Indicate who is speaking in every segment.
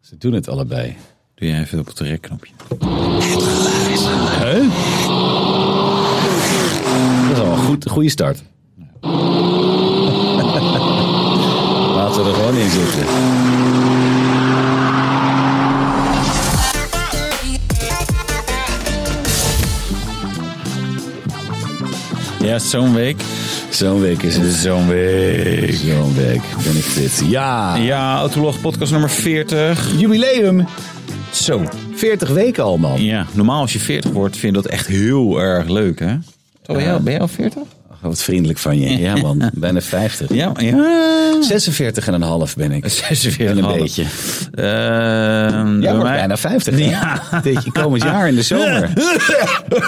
Speaker 1: Ze doen het allebei.
Speaker 2: Doe jij even op het rekknopje.
Speaker 1: Hè? Dat is al een goed, goede start. Laten we er gewoon in zitten.
Speaker 2: Ja, zo'n week.
Speaker 1: Zo'n week is het.
Speaker 2: Zo'n week.
Speaker 1: Zo'n week ben ik fit. Ja!
Speaker 2: Ja, Autolog podcast nummer 40.
Speaker 1: Jubileum!
Speaker 2: Zo.
Speaker 1: 40 weken al, man.
Speaker 2: Ja, normaal als je 40 wordt vind je dat echt heel erg leuk, hè? Toch, ben, jij, ben jij al 40?
Speaker 1: Ach, wat vriendelijk van je. Ja, man. Bijna 50.
Speaker 2: Ja, ja.
Speaker 1: 46 en een half ben ik.
Speaker 2: 46
Speaker 1: En Ah. een
Speaker 2: hadden.
Speaker 1: beetje.
Speaker 2: Ehm,
Speaker 1: Jij
Speaker 2: bij
Speaker 1: wordt
Speaker 2: mij-
Speaker 1: bijna 50. hè?
Speaker 2: Ja.
Speaker 1: Dit komend jaar in de zomer.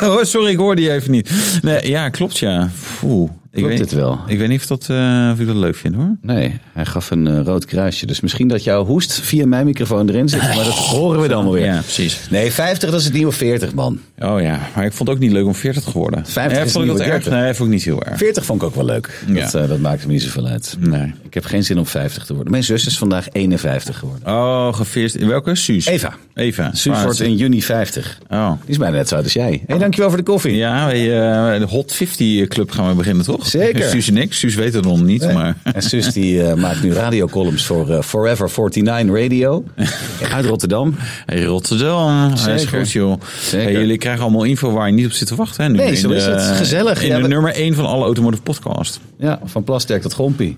Speaker 2: Oh, sorry, ik hoorde je even niet. Nee, ja, klopt ja. Oeh, ik
Speaker 1: Klopt
Speaker 2: weet,
Speaker 1: het wel?
Speaker 2: Ik weet niet of, dat, eh, of ik dat leuk vind hoor.
Speaker 1: Nee, hij gaf een eh, rood kruisje. Dus misschien dat jouw hoest via mijn microfoon erin zit. Maar dat horen we dan wel weer.
Speaker 2: Ja, precies.
Speaker 1: Nee, 50 dat is het nieuwe 40, man.
Speaker 2: Oh ja, maar ik vond het ook niet leuk om 40 te worden.
Speaker 1: 50
Speaker 2: Eh,
Speaker 1: is
Speaker 2: vond ik
Speaker 1: nieuwe
Speaker 2: dat erg?
Speaker 1: 30.
Speaker 2: Nee, vond ik niet heel erg.
Speaker 1: 40 vond ik ook wel leuk. Dat,
Speaker 2: Ja.
Speaker 1: eh, dat maakt me niet zoveel uit.
Speaker 2: Nee.
Speaker 1: Ik heb geen zin om 50 te worden. Mijn zus is vandaag 51 geworden.
Speaker 2: Oh, geveerd. in Welke? Suus?
Speaker 1: Eva.
Speaker 2: Eva.
Speaker 1: Suus wordt in juni 50.
Speaker 2: Oh.
Speaker 1: Die is bijna net zo oud als jij. Hé, hey, dankjewel voor de koffie.
Speaker 2: Ja, wij, eh, de Hot 50 Club gaan we beginnen, toch?
Speaker 1: Zeker.
Speaker 2: Suus en ik. Suus weet het nog niet, maar...
Speaker 1: En Suus die eh, maakt nu radiocolumns voor eh, Forever 49 Radio. Uit Rotterdam.
Speaker 2: Hey, Rotterdam. Hij is
Speaker 1: Zeker.
Speaker 2: goed, joh.
Speaker 1: Zeker.
Speaker 2: Hey, jullie krijgen allemaal info waar je niet op zit te wachten. Hè, nu.
Speaker 1: Nee,
Speaker 2: In
Speaker 1: zo is
Speaker 2: de-
Speaker 1: het. Gezellig.
Speaker 2: In
Speaker 1: Ja,
Speaker 2: de
Speaker 1: we-
Speaker 2: nummer 1 van alle Automotive Podcast.
Speaker 1: Ja, van Plasterk tot Gompie.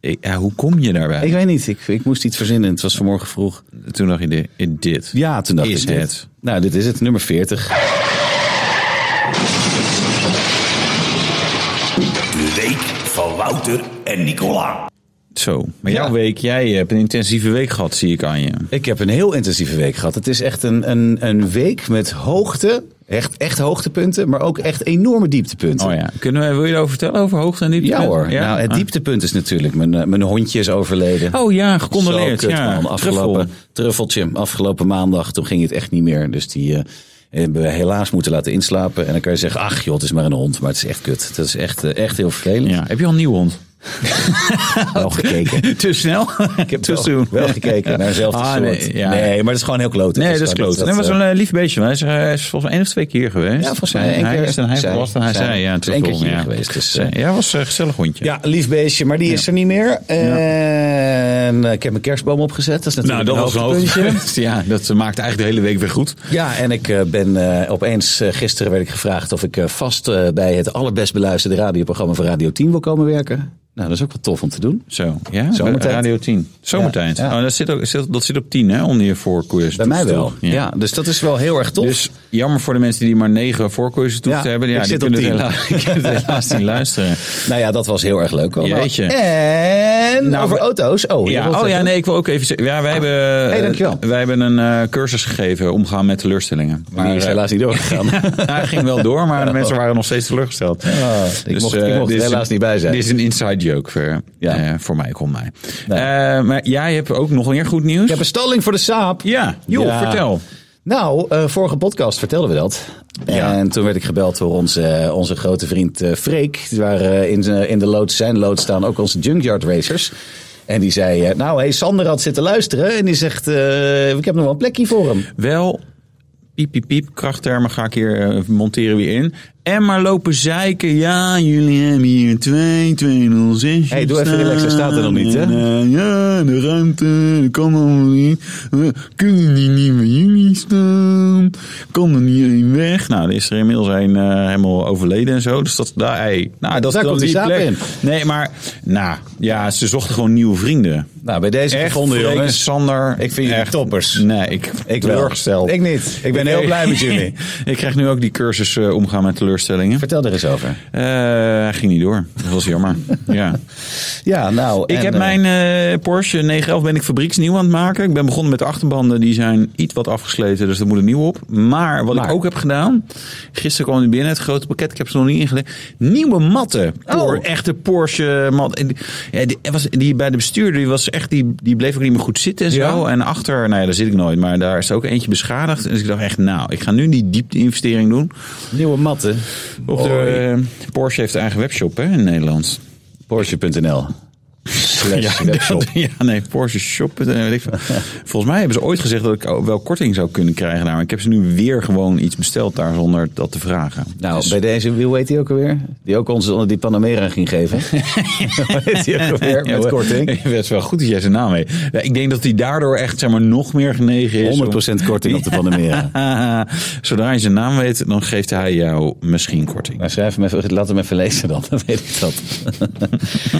Speaker 2: Ik- ja, hoe kom je daarbij?
Speaker 1: Ik weet niet, ik, ik moest iets verzinnen. Het was vanmorgen vroeg.
Speaker 2: Toen dacht je dit. dit.
Speaker 1: Ja, toen dacht
Speaker 2: Is
Speaker 1: ik dit.
Speaker 2: het.
Speaker 1: Nou, dit is het, nummer 40.
Speaker 3: De week van Wouter en Nicola.
Speaker 2: Zo. Maar
Speaker 1: Ja.
Speaker 2: jouw week, jij hebt een intensieve week gehad, zie ik aan je.
Speaker 1: Ik heb een heel intensieve week gehad. Het is echt een, een, een week met hoogte. Echt, echt hoogtepunten, maar ook echt enorme dieptepunten.
Speaker 2: Oh ja. Kunnen we, wil je erover vertellen over hoogte en diepte?
Speaker 1: Ja hoor. Nou, het
Speaker 2: Ah.
Speaker 1: dieptepunt is natuurlijk, mijn, eh, mijn hondje is overleden.
Speaker 2: Oh ja, gecondoleerd.
Speaker 1: Zo kut,
Speaker 2: ja,
Speaker 1: man. Afgelopen,
Speaker 2: Truffel.
Speaker 1: truffeltje. Afgelopen maandag, toen ging het echt niet meer. Dus die eh, hebben we helaas moeten laten inslapen. En dan kan je zeggen, ach joh, het is maar een hond. Maar het is echt kut. Dat is echt, eh, echt heel vervelend.
Speaker 2: Ja. Heb je al een nieuwe hond?
Speaker 1: Wel gekeken.
Speaker 2: Te snel? Ik heb
Speaker 1: Wel- Wel gekeken naar dezelfde
Speaker 2: Ah,
Speaker 1: soort.
Speaker 2: nee,
Speaker 1: Nee,
Speaker 2: ja.
Speaker 1: maar dat is gewoon heel kloot.
Speaker 2: Nee, dat is kloot.
Speaker 1: gewoon-
Speaker 2: Hij was
Speaker 1: eh,
Speaker 2: een eh, lief beestje. maar Hij is, eh, hij is volgens mij één of twee keer geweest.
Speaker 1: Ja, volgens mij
Speaker 2: En
Speaker 1: één
Speaker 2: hij
Speaker 1: keer.
Speaker 2: Is, en hij
Speaker 1: Zij-
Speaker 2: was en hij
Speaker 1: zij.
Speaker 2: zei, ja,
Speaker 1: Het is één
Speaker 2: truffel,
Speaker 1: keertje
Speaker 2: ja.
Speaker 1: hier geweest, dus,
Speaker 2: Zij-
Speaker 1: eh.
Speaker 2: ja, was een gezellig hondje.
Speaker 1: ja, lief beestje, maar die is er niet meer. En eh, ik heb mijn kerstboom opgezet. Dat is
Speaker 2: Nou,
Speaker 1: natuurlijk
Speaker 2: dat was een
Speaker 1: hoogtepuntje.
Speaker 2: hoogtepunt. Ja, dat maakt eigenlijk de hele week weer goed.
Speaker 1: Ja, en ik eh, ben eh, opeens, eh, gisteren werd ik gevraagd of ik eh, vast eh, bij het allerbest beluisterde radioprogramma van Radio 10 wil komen werken. Nou, dat is ook wel tof om te doen.
Speaker 2: Zo, ja, eh,
Speaker 1: Zomertijd.
Speaker 2: Radio 10. Zomertijd.
Speaker 1: Ja, ja.
Speaker 2: Oh, dat, zit ook, zit- dat zit op 10, hè, onder je voorkoers.
Speaker 1: Bij mij wel. Ja. dus dat is wel heel erg tof.
Speaker 2: Dus jammer voor de mensen die maar negen voorkoersen toe
Speaker 1: Ja,
Speaker 2: te hebben. Ja,
Speaker 1: ik
Speaker 2: die
Speaker 1: zit op
Speaker 2: kunnen het
Speaker 1: 10.
Speaker 2: helaas- die kunnen het helaas niet luisteren.
Speaker 1: nou ja, dat was heel erg leuk. allemaal.
Speaker 2: Jeetje.
Speaker 1: En
Speaker 2: Nou,
Speaker 1: over
Speaker 2: we-
Speaker 1: auto's. Oh, je
Speaker 2: Ja,
Speaker 1: wilt
Speaker 2: oh ja,
Speaker 1: zeggen?
Speaker 2: nee, ik wil ook even zeggen. Ja, wij hebben,
Speaker 1: Hey, dankjewel.
Speaker 2: wij hebben een eh, cursus gegeven, omgaan met teleurstellingen.
Speaker 1: Die is
Speaker 2: eh,
Speaker 1: helaas niet doorgegaan.
Speaker 2: hij ging wel door, maar de mensen waren nog steeds teleurgesteld.
Speaker 1: ik mocht- ik
Speaker 2: eh,
Speaker 1: mocht er
Speaker 2: dit is
Speaker 1: helaas
Speaker 2: een-
Speaker 1: niet bij zijn.
Speaker 2: Dit is een inside joke voor,
Speaker 1: Ja.
Speaker 2: eh, voor mij, kon mij.
Speaker 1: Nee.
Speaker 2: Eh, maar jij hebt ook nog meer goed nieuws.
Speaker 1: Ik heb een stalling voor de Saab.
Speaker 2: Ja, joh,
Speaker 1: Ja.
Speaker 2: vertel.
Speaker 1: Nou, eh, vorige podcast vertelden we dat.
Speaker 2: Ja.
Speaker 1: En toen werd ik gebeld door onze, onze grote vriend eh, Freek. Waar eh, in, zijn- in de loods, zijn loods staan ook onze junkyard racers. En die zei, eh, nou hé, hey, Sander had zitten luisteren. En die zegt, eh, ik heb nog wel een plekje voor hem.
Speaker 2: Wel, piep, piep, piep, krachttermen ga ik hier eh, monteren weer in. En maar lopen zeiken. Ja, jullie hebben hier 2, 2, 0, 6.
Speaker 1: Hey, doe even relaxed, hij staat er nog niet, hè?
Speaker 2: ja, de ruimte, dat kan allemaal niet. We kunnen die niet bij jullie staan? Kan er niet één weg? Nou, er is er inmiddels een eh, helemaal overleden en zo. Dus dat, daar, hey, nou,
Speaker 1: Daar
Speaker 2: dat is dan
Speaker 1: komt die
Speaker 2: die
Speaker 1: zaap
Speaker 2: plek.
Speaker 1: in.
Speaker 2: Nee, maar, nou, ja, ze zochten gewoon nieuwe vrienden.
Speaker 1: Nou, bij deze
Speaker 2: Echt,
Speaker 1: gevonden
Speaker 2: Freek en
Speaker 1: jongens.
Speaker 2: Sander.
Speaker 1: Ik vind jullie
Speaker 2: echt-
Speaker 1: toppers.
Speaker 2: Nee, ik,
Speaker 1: wel.
Speaker 2: ik teleurgesteld.
Speaker 1: Ik niet. Ik ben heel blij met jullie.
Speaker 2: ik krijg nu ook die cursus eh, omgaan met teleurstellingen.
Speaker 1: Vertel er eens over.
Speaker 2: Eh, Hij ging niet door. Dat was jammer. ja.
Speaker 1: Ja, nou.
Speaker 2: Ik
Speaker 1: en,
Speaker 2: heb
Speaker 1: eh,
Speaker 2: mijn eh, Porsche 911 ben ik fabrieksnieuw aan het maken. Ik ben begonnen met de achterbanden. Die zijn iets wat afgesleten, dus er moet een nieuw op. Maar wat
Speaker 1: Maar.
Speaker 2: ik ook heb gedaan. Gisteren kwam die binnen, het grote pakket. Ik heb ze nog niet ingelegd. Nieuwe matten. Por-
Speaker 1: Oh.
Speaker 2: Echte Porsche mat. En die- Ja, die, was, die bij de bestuurder die was echt, die, die bleef ook niet meer goed zitten en zo.
Speaker 1: Ja?
Speaker 2: En achter, nou ja, daar zit ik nooit. Maar daar is er ook eentje beschadigd. Dus ik dacht echt, nou, ik ga nu die diepte investering doen.
Speaker 1: nieuwe matten.
Speaker 2: Op de, eh, Porsche heeft een eigen webshop hè, in Nederland.
Speaker 1: Porsche.nl. slash webshop.
Speaker 2: dat- ja, nee, Porsche Shop. eh, weet ik veel. Volgens mij hebben ze ooit gezegd dat ik ook wel korting zou kunnen krijgen. daar, maar ik heb ze nu weer gewoon iets besteld daar zonder dat te vragen.
Speaker 1: Nou,
Speaker 2: Dus-
Speaker 1: bij deze, wie weet die ook alweer? Die ook ons onder die Panamera ging geven. weet die ook alweer?
Speaker 2: Ja,
Speaker 1: Met
Speaker 2: maar-
Speaker 1: korting.
Speaker 2: Het is wel goed dat jij zijn naam weet. Ja, ik denk dat hij daardoor echt zeg maar, nog meer genegen is. om-
Speaker 1: 100% korting op de Panamera.
Speaker 2: Zodra je zijn naam weet, dan geeft hij jou misschien korting.
Speaker 1: Nou, schrijf hem even, laat hem even lezen dan, dan weet ik dat.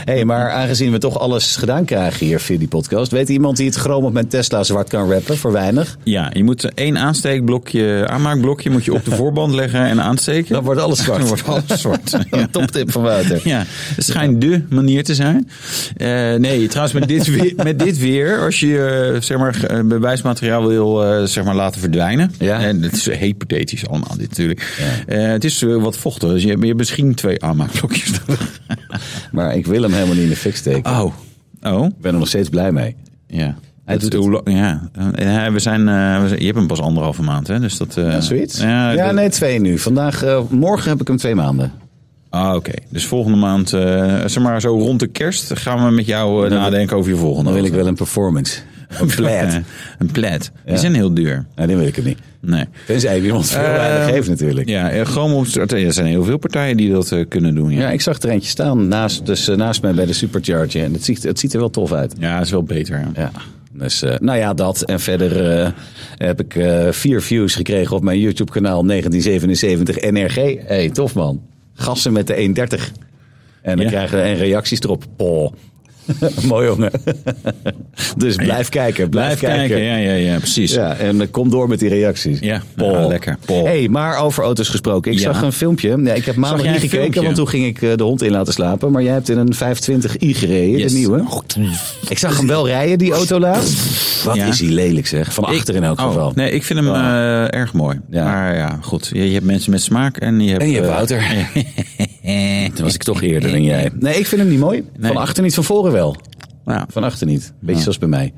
Speaker 1: hey, maar aangezien we toch alles gedaan krijgen hier via die podcast, weet iemand die het chroom op mijn Tesla zwart kan rappen voor weinig?
Speaker 2: Ja, je moet één aansteekblokje, aanmaakblokje moet je op de voorband leggen en aansteken.
Speaker 1: Dan wordt alles zwart.
Speaker 2: Dan wordt alles zwart. Ja.
Speaker 1: Toptip van Wouter.
Speaker 2: Ja, het schijnt dé manier te zijn. Eh, nee, trouwens, met dit, weer, met dit weer, als je eh, zeg maar, eh, bewijsmateriaal wil eh, zeg maar, laten verdwijnen.
Speaker 1: Ja.
Speaker 2: En het is hypothetisch allemaal, dit natuurlijk. Eh, het is eh, wat vochtig, dus je hebt je hebt misschien twee aanmaakblokjes nodig.
Speaker 1: Maar ik wil hem helemaal niet in de fik steken.
Speaker 2: Oh, oh,
Speaker 1: Ik ben er nog steeds blij mee.
Speaker 2: ja.
Speaker 1: Hij doet
Speaker 2: Dat- hoe lang- ja. Eh, we zijn, eh, we zijn- je hebt hem pas anderhalve maand, hè? Dus dat, eh,
Speaker 1: Ja, zoiets?
Speaker 2: Ja,
Speaker 1: Ja,
Speaker 2: dat-
Speaker 1: nee, twee nu. Vandaag, eh, morgen heb ik hem twee maanden.
Speaker 2: Ah, oké. Dus volgende maand, eh, zeg maar zo rond de kerst, gaan we met jou eh, nadenken over je volgende.
Speaker 1: Dan wil ik wel een performance. Een plaid.
Speaker 2: Een plaid. Die zijn heel duur.
Speaker 1: Nou, die wil ik hem niet.
Speaker 2: Nee.
Speaker 1: Tenzij iemand veel
Speaker 2: Eh,
Speaker 1: weinig heeft natuurlijk.
Speaker 2: Ja, eh, gewoon om. Er zijn heel veel partijen die dat eh, kunnen doen. Ja,
Speaker 1: Ja, ik zag er eentje staan naast, dus, eh, naast mij bij de Supercharger. En het ziet, het ziet er wel tof uit.
Speaker 2: ja is wel beter. Ja.
Speaker 1: Ja. Dus, eh, nou ja, dat. En verder eh, heb ik eh, vier views gekregen op mijn YouTube-kanaal 1977 NRG. hey, tof man. Gassen met de 130. En dan
Speaker 2: Ja.
Speaker 1: krijgen we en reacties erop. Poh. Mooi jongen. dus blijf kijken, blijf, kijken.
Speaker 2: Ja, ja, ja, precies. Ja.
Speaker 1: Ja, en eh, kom door met die reacties.
Speaker 2: Ja,
Speaker 1: Poh.
Speaker 2: nou, lekker. Poh.
Speaker 1: hey, maar over auto's gesproken. Ik
Speaker 2: Ja.
Speaker 1: zag een filmpje. Nee, ik heb maandag
Speaker 2: jij
Speaker 1: niet
Speaker 2: een
Speaker 1: gekeken,
Speaker 2: filmpje?
Speaker 1: want toen ging ik eh, de hond in laten slapen. Maar jij hebt in een 520i gereden,
Speaker 2: Yes.
Speaker 1: de nieuwe. Ik zag hem wel rijden, die auto laatst. Wat
Speaker 2: Ja.
Speaker 1: is hij lelijk zeg. Van achter in elk geval.
Speaker 2: oh, nee, ik vind hem eh, erg mooi.
Speaker 1: Ja.
Speaker 2: Maar ja, goed. Je, je hebt mensen met smaak en je hebt.
Speaker 1: En je hebt
Speaker 2: eh,
Speaker 1: Wouter. Toen was ik toch eerder dan jij. Nee, ik vind hem niet mooi.
Speaker 2: Nee.
Speaker 1: Van achter niet, van voren wel.
Speaker 2: nou,
Speaker 1: Van achter niet. Beetje zoals bij mij.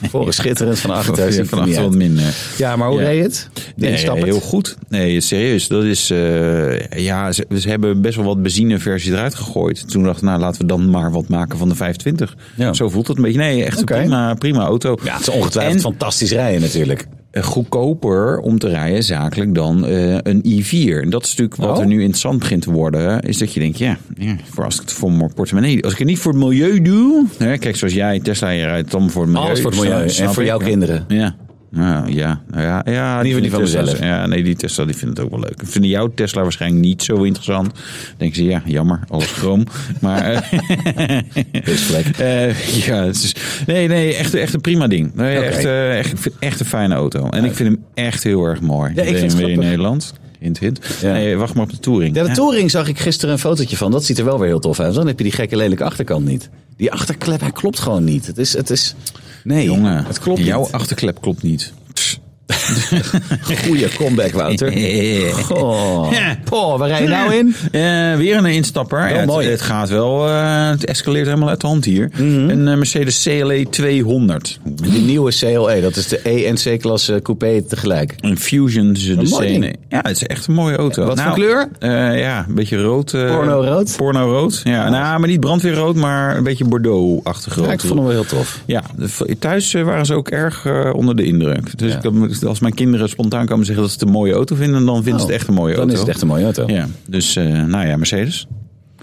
Speaker 1: Van voren schitterend, van achter. ziet
Speaker 2: van
Speaker 1: het niet
Speaker 2: achter wat
Speaker 1: uit.
Speaker 2: minder.
Speaker 1: Ja, maar hoe
Speaker 2: Ja.
Speaker 1: reed het?
Speaker 2: Nee,
Speaker 1: Instappend?
Speaker 2: heel goed. Nee, serieus. Dat is, eh, ja, ze, ze hebben best wel wat benzineversies eruit gegooid. Toen dacht ik, nou laten we dan maar wat maken van de 25.
Speaker 1: Ja.
Speaker 2: Zo voelt het een beetje. Nee, echt
Speaker 1: Oké.
Speaker 2: een prima, prima auto.
Speaker 1: Ja, het is ongetwijfeld
Speaker 2: En
Speaker 1: fantastisch rijden natuurlijk.
Speaker 2: goedkoper om te rijden zakelijk dan eh, een i4. En dat is natuurlijk wat
Speaker 1: Oh.
Speaker 2: er nu interessant begint te worden. Is dat je denkt, ja, ja voor als ik het voor mijn portemonnee... Als ik het niet voor het milieu doe... Hè, kijk, zoals jij, Tesla, je rijdt dan voor het milieu.
Speaker 1: Alles voor het
Speaker 2: snap-
Speaker 1: milieu en
Speaker 2: snap
Speaker 1: voor
Speaker 2: ik.
Speaker 1: jouw
Speaker 2: Ja.
Speaker 1: kinderen.
Speaker 2: Ja. Nou, ja, nou ja, ja
Speaker 1: Die van
Speaker 2: Tesla-
Speaker 1: mezelf.
Speaker 2: Ja, nee, die Tesla die vindt het ook wel leuk. Vinden jouw Tesla waarschijnlijk niet zo interessant. Dan denken ze, ja, jammer, alles chroom. maar eh,
Speaker 1: Pisvlek.
Speaker 2: eh, ja, het is, nee, nee, echt, echt een prima ding. Nee,
Speaker 1: Oké.
Speaker 2: echt, eh, echt, ik vind het echt een fijne auto. En ik vind hem echt heel erg mooi.
Speaker 1: Ja, ik vind het
Speaker 2: BMW in
Speaker 1: grappig.
Speaker 2: Nederland. Hint, hint.
Speaker 1: Ja.
Speaker 2: Nee, wacht maar op de Touring.
Speaker 1: Ja, de Touring zag ik gisteren een fotootje van. Dat ziet er wel weer heel tof uit. Dan heb je die gekke lelijke achterkant niet. Die achterklep, hij klopt gewoon niet. Het is, het is... Nee,
Speaker 2: Jongen,
Speaker 1: het klopt
Speaker 2: jouw
Speaker 1: niet.
Speaker 2: achterklep klopt niet.
Speaker 1: Goeie comeback, Wouter. Goh.
Speaker 2: Ja.
Speaker 1: Poh, waar rij je nou in?
Speaker 2: Eh, weer een instapper. Ja, het-
Speaker 1: mooi. Mhm.
Speaker 2: Het, gaat wel, eh, het escaleert helemaal uit de hand hier. Een eh, Mercedes CLE 200.
Speaker 1: Die nieuwe CLE, dat is de E en C-klasse coupé tegelijk.
Speaker 2: Een Fusion, dus de
Speaker 1: mooi
Speaker 2: CLE.
Speaker 1: ding.
Speaker 2: Ja, het is echt een mooie auto.
Speaker 1: Wat voor
Speaker 2: Nou,
Speaker 1: kleur?
Speaker 2: eh, ja, een beetje rood. eh,
Speaker 1: Porno-rood?
Speaker 2: Porno-rood, ja. Nou, maar niet brandweerrood, maar een beetje Bordeaux-achtig rood.
Speaker 1: Ja, ik vond hem wel heel tof.
Speaker 2: Ja, de- thuis eh, waren ze ook erg eh, onder de indruk. Dus
Speaker 1: Ja.
Speaker 2: ik had- als mijn kinderen spontaan komen zeggen dat ze het een mooie auto vinden, dan vinden ze het echt een mooie
Speaker 1: Oh, dan
Speaker 2: auto.
Speaker 1: is het echt een mooie auto.
Speaker 2: Ja, dus eh, nou ja, Mercedes.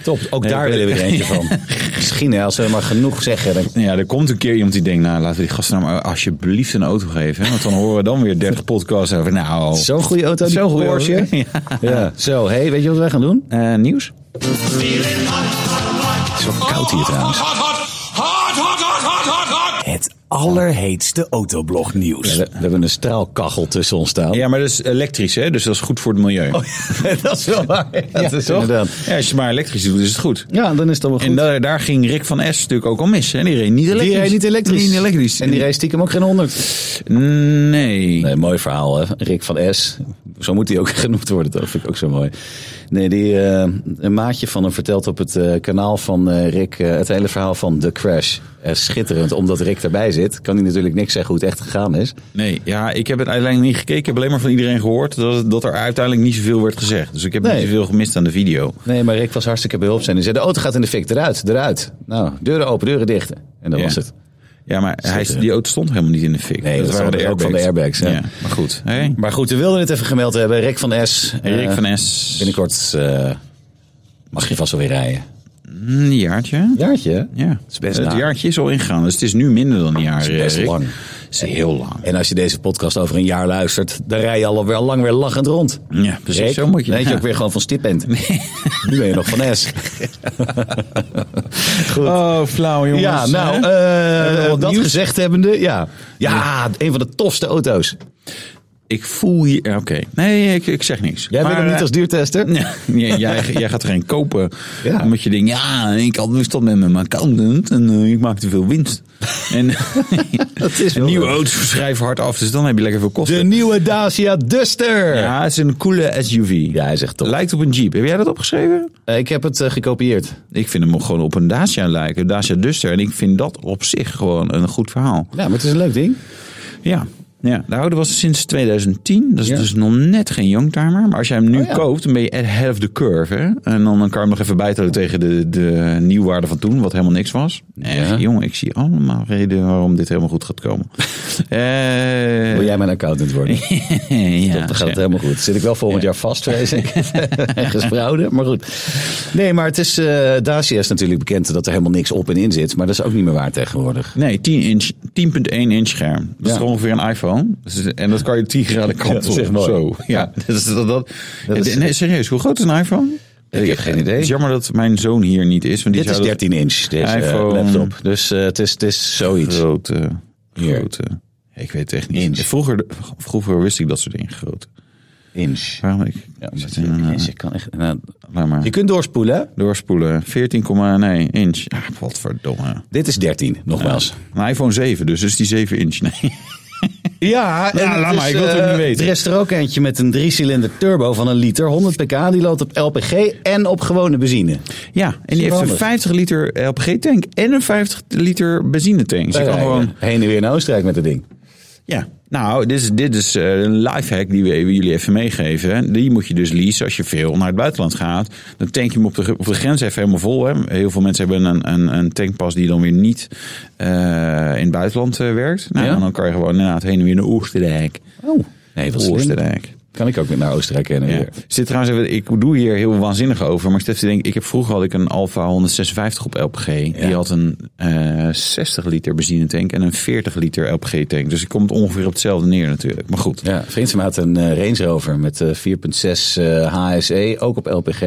Speaker 1: Top, ook
Speaker 2: Nee,
Speaker 1: daar
Speaker 2: ik-
Speaker 1: willen we er eentje van. Misschien, hè, als we maar genoeg zeggen. Dan...
Speaker 2: Ja, er komt een keer iemand die denkt, nou laten we die gasten nou maar alsjeblieft een auto geven. hè, Want dan horen we dan weer 30 podcasts over. Nou,
Speaker 1: Zo'n goede auto, die
Speaker 2: Zo'n goede
Speaker 1: Porsche.
Speaker 2: auto. Ja.
Speaker 1: Ja. Zo, hey, weet je wat wij gaan doen?
Speaker 2: eh, nieuws?
Speaker 1: Het is wel koud hier trouwens.
Speaker 3: Hot, hot, hot, hot, hot, hot, hot, hot.
Speaker 4: Het allerheetste autoblog
Speaker 1: Ja,
Speaker 4: nieuws.
Speaker 1: we, we hebben een straalkachel tussen ons staan.
Speaker 2: Ja, maar dat is elektrisch, hè? dus dat is goed voor het milieu.
Speaker 1: dat is wel waar. Ja, Oh, dat is
Speaker 2: toch?
Speaker 1: inderdaad.
Speaker 2: Ja, als je maar elektrisch doet, is het goed.
Speaker 1: Ja, dan is dat wel goed.
Speaker 2: En daar, daar ging Rick van S natuurlijk ook al mis. Hè? Die reed niet elektrisch.
Speaker 1: die rijdt niet elektrisch.
Speaker 2: Niet elektrisch.
Speaker 1: En die rijdt stiekem ook geen 100.
Speaker 2: Nee.
Speaker 1: Nee, mooi verhaal, hè? Rick van S. Zo moet hij ook genoemd worden, dat vind ik ook zo mooi. Nee, die, eh, een maatje van hem vertelt op het eh, kanaal van eh, Rick eh, het hele verhaal van The Crash. Eh, schitterend, omdat Rick erbij zit, kan hij natuurlijk niks zeggen hoe het echt gegaan is.
Speaker 2: Nee, ja, ik heb het uiteindelijk niet gekeken. Ik heb alleen maar van iedereen gehoord dat, het- dat er uiteindelijk niet zoveel werd gezegd. Dus ik heb
Speaker 1: Nee.
Speaker 2: niet zoveel gemist aan de video.
Speaker 1: Nee, maar Rick was hartstikke behulpzaam. Hij zei, de auto gaat in de fik, eruit, eruit. Nou, deuren open, deuren dicht. En dat
Speaker 2: Ja.
Speaker 1: was het.
Speaker 2: Ja, maar hij, die auto stond helemaal niet in de fik.
Speaker 1: Nee, dat waren ook van de airbags, ja.
Speaker 2: maar goed. Hey.
Speaker 1: Maar goed, we wilden het even gemeld hebben. Rick van S.
Speaker 2: Hey, Rick
Speaker 1: eh,
Speaker 2: van S.
Speaker 1: Binnenkort eh, mag je vast wel weer rijden.
Speaker 2: Een jaartje.
Speaker 1: Jaartje, hè?
Speaker 2: Ja,
Speaker 1: is best
Speaker 2: het
Speaker 1: na.
Speaker 2: jaartje is al ingegaan. Dus het is nu minder dan een jaar.
Speaker 1: is best
Speaker 2: Rick.
Speaker 1: lang.
Speaker 2: is heel lang.
Speaker 1: En als je deze podcast over een jaar luistert, dan rij je al wel lang weer lachend rond.
Speaker 2: Ja, precies.
Speaker 1: Rick,
Speaker 2: Zo moet je.
Speaker 1: Dan weet je
Speaker 2: ja.
Speaker 1: ook weer gewoon van stip bent. Nu ben je nog van S.
Speaker 2: Oh, flauw jongens.
Speaker 1: ja, nou,
Speaker 2: hè?
Speaker 1: eh,
Speaker 2: we wat
Speaker 1: dat
Speaker 2: nieuws?
Speaker 1: gezegd hebbende, ja. Ja, een van de tofste auto's.
Speaker 2: Ik voel hier... Oké. Nee, ik, ik zeg niks.
Speaker 1: Jij wil
Speaker 2: Maar,
Speaker 1: hem niet
Speaker 2: eh,
Speaker 1: als duurtester?
Speaker 2: Ja, jij, jij- jij gaat er geen kopen.
Speaker 1: Ja.
Speaker 2: Omdat je denkt, ja, ik had nu stond met mijn accountant en eh, ik maak te veel winst. En
Speaker 1: Dat is wel
Speaker 2: nieuwe
Speaker 1: leuk.
Speaker 2: auto's schrijven hard af, dus dan heb je lekker veel
Speaker 1: De
Speaker 2: kosten.
Speaker 1: nieuwe Dacia Duster.
Speaker 2: Ja, het is een coole SUV.
Speaker 1: Ja, hij zegt toch.
Speaker 2: Lijkt op een Jeep. Heb jij dat opgeschreven?
Speaker 1: Eh, ik heb het eh, gekopieerd.
Speaker 2: Ik vind hem gewoon op een Dacia lijken, een Dacia Duster. En ik vind dat op zich gewoon een goed verhaal.
Speaker 1: Ja, maar het is een leuk ding.
Speaker 2: Ja. Ja, de oude was sinds 2010. Dat is
Speaker 1: Ja.
Speaker 2: dus nog net geen youngtimer. Maar als jij hem nu
Speaker 1: Oh ja.
Speaker 2: koopt, dan ben je at half the curve. Hè? En dan kan je hem nog even bijtellen tegen de, de nieuwwaarde van toen, wat helemaal niks was. Echt,
Speaker 1: Ja.
Speaker 2: jongen, ik zie allemaal redenen waarom dit helemaal goed gaat komen. Eh,
Speaker 1: Wil jij mijn accountant worden?
Speaker 2: ja,
Speaker 1: Dan gaat het helemaal goed. Zit ik wel volgend jaar vast, vrees ik. En gesprouwden, maar goed. Nee, maar het is, eh, Dacia is natuurlijk bekend dat er helemaal niks op en in zit. Maar dat is ook niet meer waar tegenwoordig.
Speaker 2: Nee, 10 inch, 10.1 inch scherm. Dat
Speaker 1: Ja.
Speaker 2: is toch ongeveer een iPhone. Dus- en dat kan je 10 graden
Speaker 1: Ja, dat
Speaker 2: kant
Speaker 1: is echt
Speaker 2: op.
Speaker 1: mooi.
Speaker 2: Zo. Ja, dat is, dat, dat,
Speaker 1: Dat is-
Speaker 2: nee, serieus, hoe groot is een iPhone?
Speaker 1: Ik heb geen idee.
Speaker 2: Het is jammer dat mijn zoon hier niet is. Want die
Speaker 1: Dit is
Speaker 2: zou dat-
Speaker 1: 13 inch, deze eh,
Speaker 2: iPhone.
Speaker 1: laptop. Dus eh, het, is, het is zoiets.
Speaker 2: Grote,
Speaker 1: Hier.
Speaker 2: grote. eh, Ik weet het echt niet.
Speaker 1: Inch.
Speaker 2: Vroeger, vroeger wist ik dat soort dingen groot.
Speaker 1: Inch.
Speaker 2: Waarom ik?
Speaker 1: Ja, omdat
Speaker 2: zit in
Speaker 1: je,
Speaker 2: een, eh,
Speaker 1: inch, je, kan echt, nou,
Speaker 2: laat maar.
Speaker 1: je kunt doorspoelen. hè?
Speaker 2: Doorspoelen. 14, nee, inch. Ja, wat verdomme.
Speaker 1: Dit is 13, nogmaals.
Speaker 2: Een iPhone 7 dus, dus die 7 inch. Nee.
Speaker 1: Ja, en
Speaker 2: Ja, laat
Speaker 1: het
Speaker 2: maar,
Speaker 1: is,
Speaker 2: ik wil het ook
Speaker 1: eh,
Speaker 2: niet weten.
Speaker 1: Er is er ook eentje met een driecilinder turbo van een liter, 100 pk. Die loopt op LPG en op gewone benzine.
Speaker 2: Ja,
Speaker 1: wel
Speaker 2: en die heeft een
Speaker 1: handig.
Speaker 2: 50 liter LPG tank en een 50 liter benzinetank. Dus je
Speaker 1: Wij
Speaker 2: kan
Speaker 1: rijden
Speaker 2: gewoon...
Speaker 1: heen en weer naar Oostenrijk met dat ding.
Speaker 2: Ja. Nou, dit is, dit is eh, een lifehack die we even- jullie even meegeven. Die moet je dus leasen als je veel naar het buitenland gaat. Dan tank je hem op de, gr- op de grens even helemaal vol. Hè. Heel veel mensen hebben een, een, een tankpas die dan weer niet eh, in het buitenland eh, werkt. Nou,
Speaker 1: Ja.
Speaker 2: en dan kan je gewoon inderdaad heen en weer naar Oostenrijk.
Speaker 1: Oh, nee, wat slim.
Speaker 2: Oostenrijk.
Speaker 1: Kan ik ook weer naar Oostenrijk heen en
Speaker 2: Ja.
Speaker 1: weer.
Speaker 2: Ik Zit trouwens even, ik doe hier heel waanzinnig over, maar ik zit even te denken, ik heb vroeger had ik een Alfa 156 op LPG. Die had een eh 60 liter benzinetank en een 40 liter LPG tank. Dus ik kom het ongeveer op hetzelfde neer natuurlijk. Maar goed.
Speaker 1: Ja, een vriend van mij had een eh, Range Rover met eh, 4.6 eh, HSE, ook op LPG.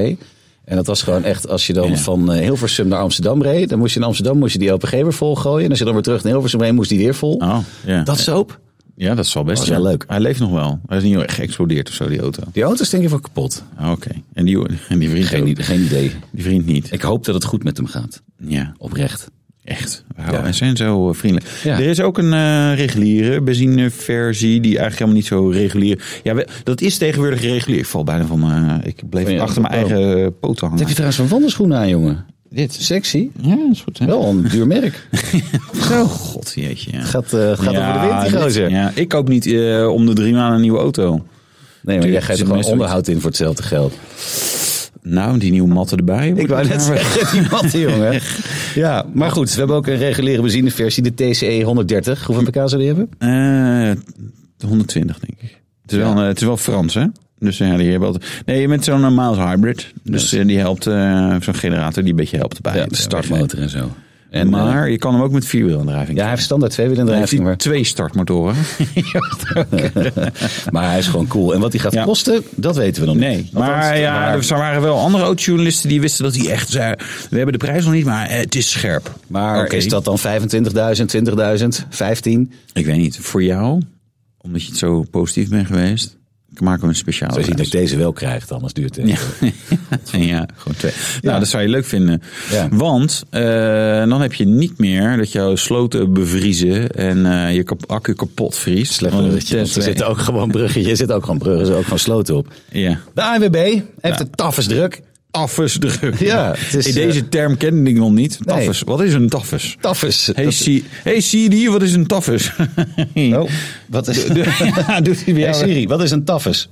Speaker 1: En dat was gewoon echt, als je dan
Speaker 2: Ja.
Speaker 1: van eh, Hilversum naar Amsterdam reed, dan moest je in Amsterdam moest je die LPG weer vol gooien. En als je dan weer terug naar Hilversum reed, moest die weer vol.
Speaker 2: Oh, ja.
Speaker 1: Dat soap.
Speaker 2: Ja, dat is wel best
Speaker 1: Was wel
Speaker 2: Oh, ja.
Speaker 1: leuk.
Speaker 2: Hij leeft nog wel. Hij is niet echt geëxplodeerd of zo, die auto.
Speaker 1: Die auto's denk ik van kapot.
Speaker 2: Ah, Oké. En, die, en die vriend
Speaker 1: Geen,
Speaker 2: ook.
Speaker 1: idee- geen idee.
Speaker 2: Die vriend niet.
Speaker 1: Ik hoop dat het goed met hem gaat.
Speaker 2: Ja,
Speaker 1: Oprecht.
Speaker 2: echt. Wauw, Hij zijn zo eh, vriendelijk.
Speaker 1: Ja.
Speaker 2: Er is ook een eh reguliere benzineversie die eigenlijk helemaal niet zo regulier... Ja, we- dat is tegenwoordig regulier. Ik val bijna van... eh, ik bleef
Speaker 1: Van je Oh.
Speaker 2: achter mijn
Speaker 1: auto.
Speaker 2: eigen eh, poten
Speaker 1: Wat heb
Speaker 2: hangen.
Speaker 1: je trouwens van wandelschoenen aan, jongen?
Speaker 2: Dit.
Speaker 1: Sexy.
Speaker 2: Ja, dat is goed. Hè?
Speaker 1: Wel een duur merk.
Speaker 2: Zo. God, jeetje. Ja.
Speaker 1: Gaat, eh, gaat over de wind, die
Speaker 2: dit-
Speaker 1: gozer.
Speaker 2: Ja, ik koop niet eh, om de drie maanden een nieuwe auto.
Speaker 1: Nee, maar jij geeft er
Speaker 2: Zit
Speaker 1: gewoon
Speaker 2: meestal
Speaker 1: onderhoud in voor hetzelfde geld.
Speaker 2: Nou, die nieuwe matten erbij.
Speaker 1: Ik wou net zeggen, die matte jongen. Ja, maar goed, we hebben ook een reguliere benzineversie, de TCE 130. Hoeveel pk zou die hebben?
Speaker 2: Eh, 120, denk ik. Het is, wel, eh, het is wel Frans, hè? Dus ja, die hebben altijd... Nee, je bent zo'n eh, mild hybrid. Dus eh, die helpt, eh, zo'n generator die een beetje helpt bij het, eh, wegrijden.
Speaker 1: en zo. En, eh,
Speaker 2: maar je kan hem ook met vierwielaandrijving.
Speaker 1: ja, hij heeft standaard
Speaker 2: Hij heeft
Speaker 1: tweewielendrijving,
Speaker 2: die
Speaker 1: maar,
Speaker 2: twee startmotoren.
Speaker 1: maar hij is gewoon cool. En wat die gaat
Speaker 2: Ja.
Speaker 1: kosten, dat weten we nog
Speaker 2: Nee,
Speaker 1: niet. Althans,
Speaker 2: maar ja,
Speaker 1: dus-
Speaker 2: er waren wel andere autojournalisten die wisten dat hij echt zei... We hebben de prijs nog niet, maar eh, het is scherp.
Speaker 1: Maar
Speaker 2: Oké.
Speaker 1: is dat dan 25.000, 20.000, 15?
Speaker 2: Ik weet niet, voor jou, omdat je het zo positief bent geweest... maken we een speciale
Speaker 1: Zo zie
Speaker 2: prijs.
Speaker 1: dat ik deze wel krijg, anders duurt het.
Speaker 2: Ja. ja, gewoon twee. Nou, dat zou je leuk vinden.
Speaker 1: Ja.
Speaker 2: Want eh, dan heb je niet meer dat jouw sloten bevriezen en eh, je kap- accu kapot vriest.
Speaker 1: Slecht
Speaker 2: Want
Speaker 1: bruggetje, want
Speaker 2: Tesla-
Speaker 1: er zitten ook gewoon bruggetjes, er zitten ook gewoon bruggen, er zitten ook gewoon sloten op.
Speaker 2: Ja.
Speaker 1: De ANWB heeft het taffes druk.
Speaker 2: Taffesdruk.
Speaker 1: Ja, het is,
Speaker 2: Hey, deze term kende ik nog niet. Taffes. Wat is een taffes?
Speaker 1: Taffes.
Speaker 2: Hey, C- hey Siri, wat is een taffes?
Speaker 1: Oh, wat is...
Speaker 2: ja, doet
Speaker 1: Hey
Speaker 2: hij bij jou.
Speaker 1: Siri, wat is een taffes?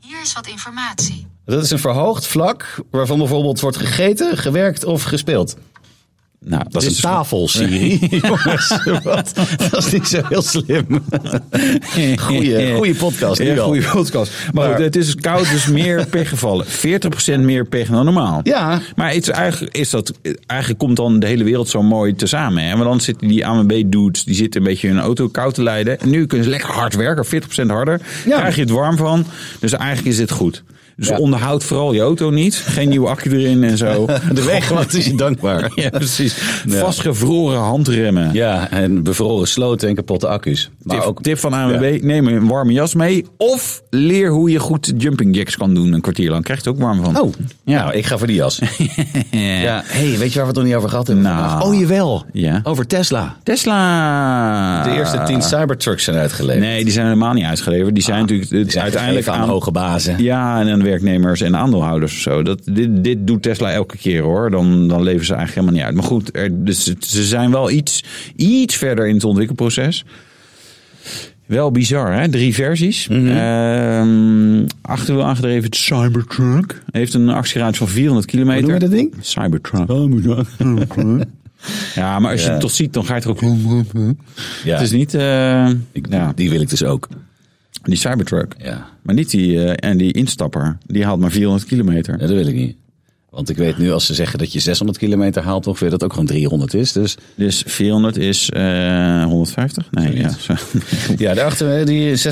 Speaker 5: Hier is wat informatie.
Speaker 1: Dat is een verhoogd vlak waarvan bijvoorbeeld wordt gegeten, gewerkt of gespeeld.
Speaker 2: Nou, dat
Speaker 1: Dat is
Speaker 2: is
Speaker 1: een tafel, Siri. Jongens, wat? Dat is niet zo heel slim.
Speaker 2: een
Speaker 1: Goeie- goeie podcast, nu
Speaker 2: Ja,
Speaker 1: al.
Speaker 2: goede podcast. Maar,
Speaker 1: Maar-
Speaker 2: goed, het is koud, dus meer pechgevallen. 40% meer pech dan normaal.
Speaker 1: Ja.
Speaker 2: Maar het is eigenlijk, is dat, eigenlijk komt dan de hele wereld zo mooi tezamen. Hè? Want dan zitten die AMB-dudes, die zitten een beetje hun auto koud te leiden. En nu kunnen ze lekker hard werken, 40% harder.
Speaker 1: Ja.
Speaker 2: krijg je het warm van. Dus eigenlijk is dit goed. Dus
Speaker 1: Ja.
Speaker 2: onderhoud vooral je auto niet. Geen nieuwe accu erin en zo.
Speaker 1: De weg, wat is je dankbaar.
Speaker 2: Ja, precies. Vastgevroren handremmen.
Speaker 1: Ja, en bevroren sloten en kapotte accu's. Maar
Speaker 2: tip,
Speaker 1: ook
Speaker 2: tip van ANWB, neem een warme jas mee. Of leer hoe je goed jumping jacks kan doen een kwartier lang. Krijg je er ook warm van.
Speaker 1: Oh, ja. nou, ik ga voor die jas. ja, hey, weet je waar we het nog niet over gehad hebben?
Speaker 2: Nou.
Speaker 1: vandaag? Oh, jawel.
Speaker 2: Ja.
Speaker 1: Over Tesla.
Speaker 2: Tesla.
Speaker 1: De Ah. eerste tien Cybertrucks zijn uitgeleverd.
Speaker 2: Nee, die zijn helemaal niet uitgeleverd. Die zijn natuurlijk het
Speaker 1: Die zijn
Speaker 2: uiteindelijk
Speaker 1: gegeven aan, hoge bazen.
Speaker 2: Ja, en aan werknemers en aandeelhouders of zo. Dat, dit, dit doet Tesla elke keer hoor. Dan, dan leven ze eigenlijk helemaal niet uit. Maar goed, er, dus, het- ze zijn wel iets, iets verder in het ontwikkelproces. Wel bizar, hè? Drie versies.
Speaker 1: Mhm.
Speaker 2: Ehm, achterwiel aangedreven Cybertruck. Heeft een actieradius van 400 kilometer.
Speaker 1: noemen we dat ding?
Speaker 2: Cybertruck. Ja, maar als je het toch ziet, dan ga je het er ook...
Speaker 1: Ja.
Speaker 2: Het is niet... eh,
Speaker 1: Ik-
Speaker 2: ja.
Speaker 1: Die wil ik dus ook.
Speaker 2: Die Cybertruck.
Speaker 1: Ja.
Speaker 2: Maar niet die, eh, en die instapper. Die haalt maar 400 kilometer.
Speaker 1: Nee, dat wil ik niet. Want ik weet nu als ze zeggen dat je 600 kilometer haalt ongeveer, dat ook gewoon 300 is. Dus
Speaker 2: Dus 400 is eh 150? Nee, ja. zo.
Speaker 1: ja, daarachter hè, die 6,7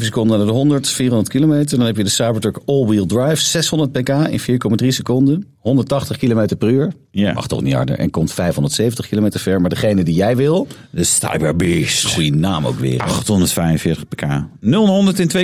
Speaker 1: seconden naar de 100, 400 kilometer. Dan heb je de Cybertruck all-wheel drive, 600 pk in 4,3 seconden, 180 kilometer per uur.
Speaker 2: Ja.
Speaker 1: Mag toch niet harder en komt 570 kilometer ver. Maar degene die jij wil,
Speaker 2: De Cyberbeast.
Speaker 1: goede naam ook weer.
Speaker 2: 845 pk. 0 naar 100 in 2,7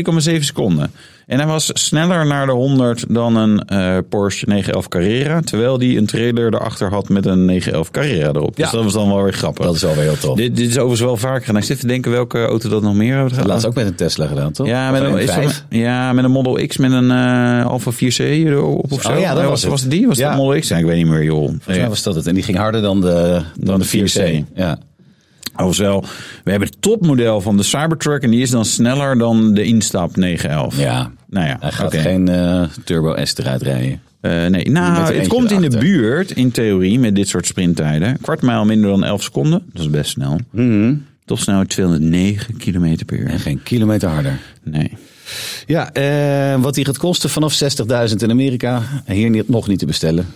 Speaker 2: seconden. En hij was sneller naar de 100 dan een eh, Porsche 911 Carrera. Terwijl die een trailer erachter had met een 911 Carrera erop. Dus
Speaker 1: Ja.
Speaker 2: dat was dan wel weer grappig.
Speaker 1: Dat is wel weer heel tof.
Speaker 2: Dit, dit is overigens wel vaker gedaan. Ik zit te denken welke auto dat nog meer hebben
Speaker 1: Laatst ook met een Tesla gedaan, toch?
Speaker 2: Ja,
Speaker 1: Of
Speaker 2: met een,
Speaker 1: alleen
Speaker 2: is dat
Speaker 1: vijf?
Speaker 2: een- ja, met een Model X met een eh Alfa 4C erop of zo.
Speaker 1: Oh
Speaker 2: Eh,
Speaker 1: ja, dat was het.
Speaker 2: was die? Was
Speaker 1: Ja.
Speaker 2: dat Model X? Ja, ik weet niet meer, joh.
Speaker 1: Volgens mij was dat het. En die ging harder dan de, dan
Speaker 2: de
Speaker 1: de 4C.
Speaker 2: 4C.
Speaker 1: Ja.
Speaker 2: Overigens Oh, wel, we hebben het topmodel van de Cybertruck en die is dan sneller dan de instap 911.
Speaker 1: ja.
Speaker 2: Nou ja,
Speaker 1: Hij gaat
Speaker 2: oké.
Speaker 1: geen eh, Turbo S eruit rijden.
Speaker 2: Eh, nee,
Speaker 1: Met er
Speaker 2: nou, het
Speaker 1: eentje
Speaker 2: komt in de
Speaker 1: erachter.
Speaker 2: buurt, in theorie, met dit soort sprinttijden. Kwart mijl minder dan 11 seconden, dat is best snel.
Speaker 1: Mhm.
Speaker 2: Toch snel 209 km per
Speaker 1: En
Speaker 2: uur.
Speaker 1: geen kilometer harder.
Speaker 2: Nee.
Speaker 1: Ja, eh, wat die gaat kosten vanaf 60.000 in Amerika. Hier niet, nog niet te bestellen.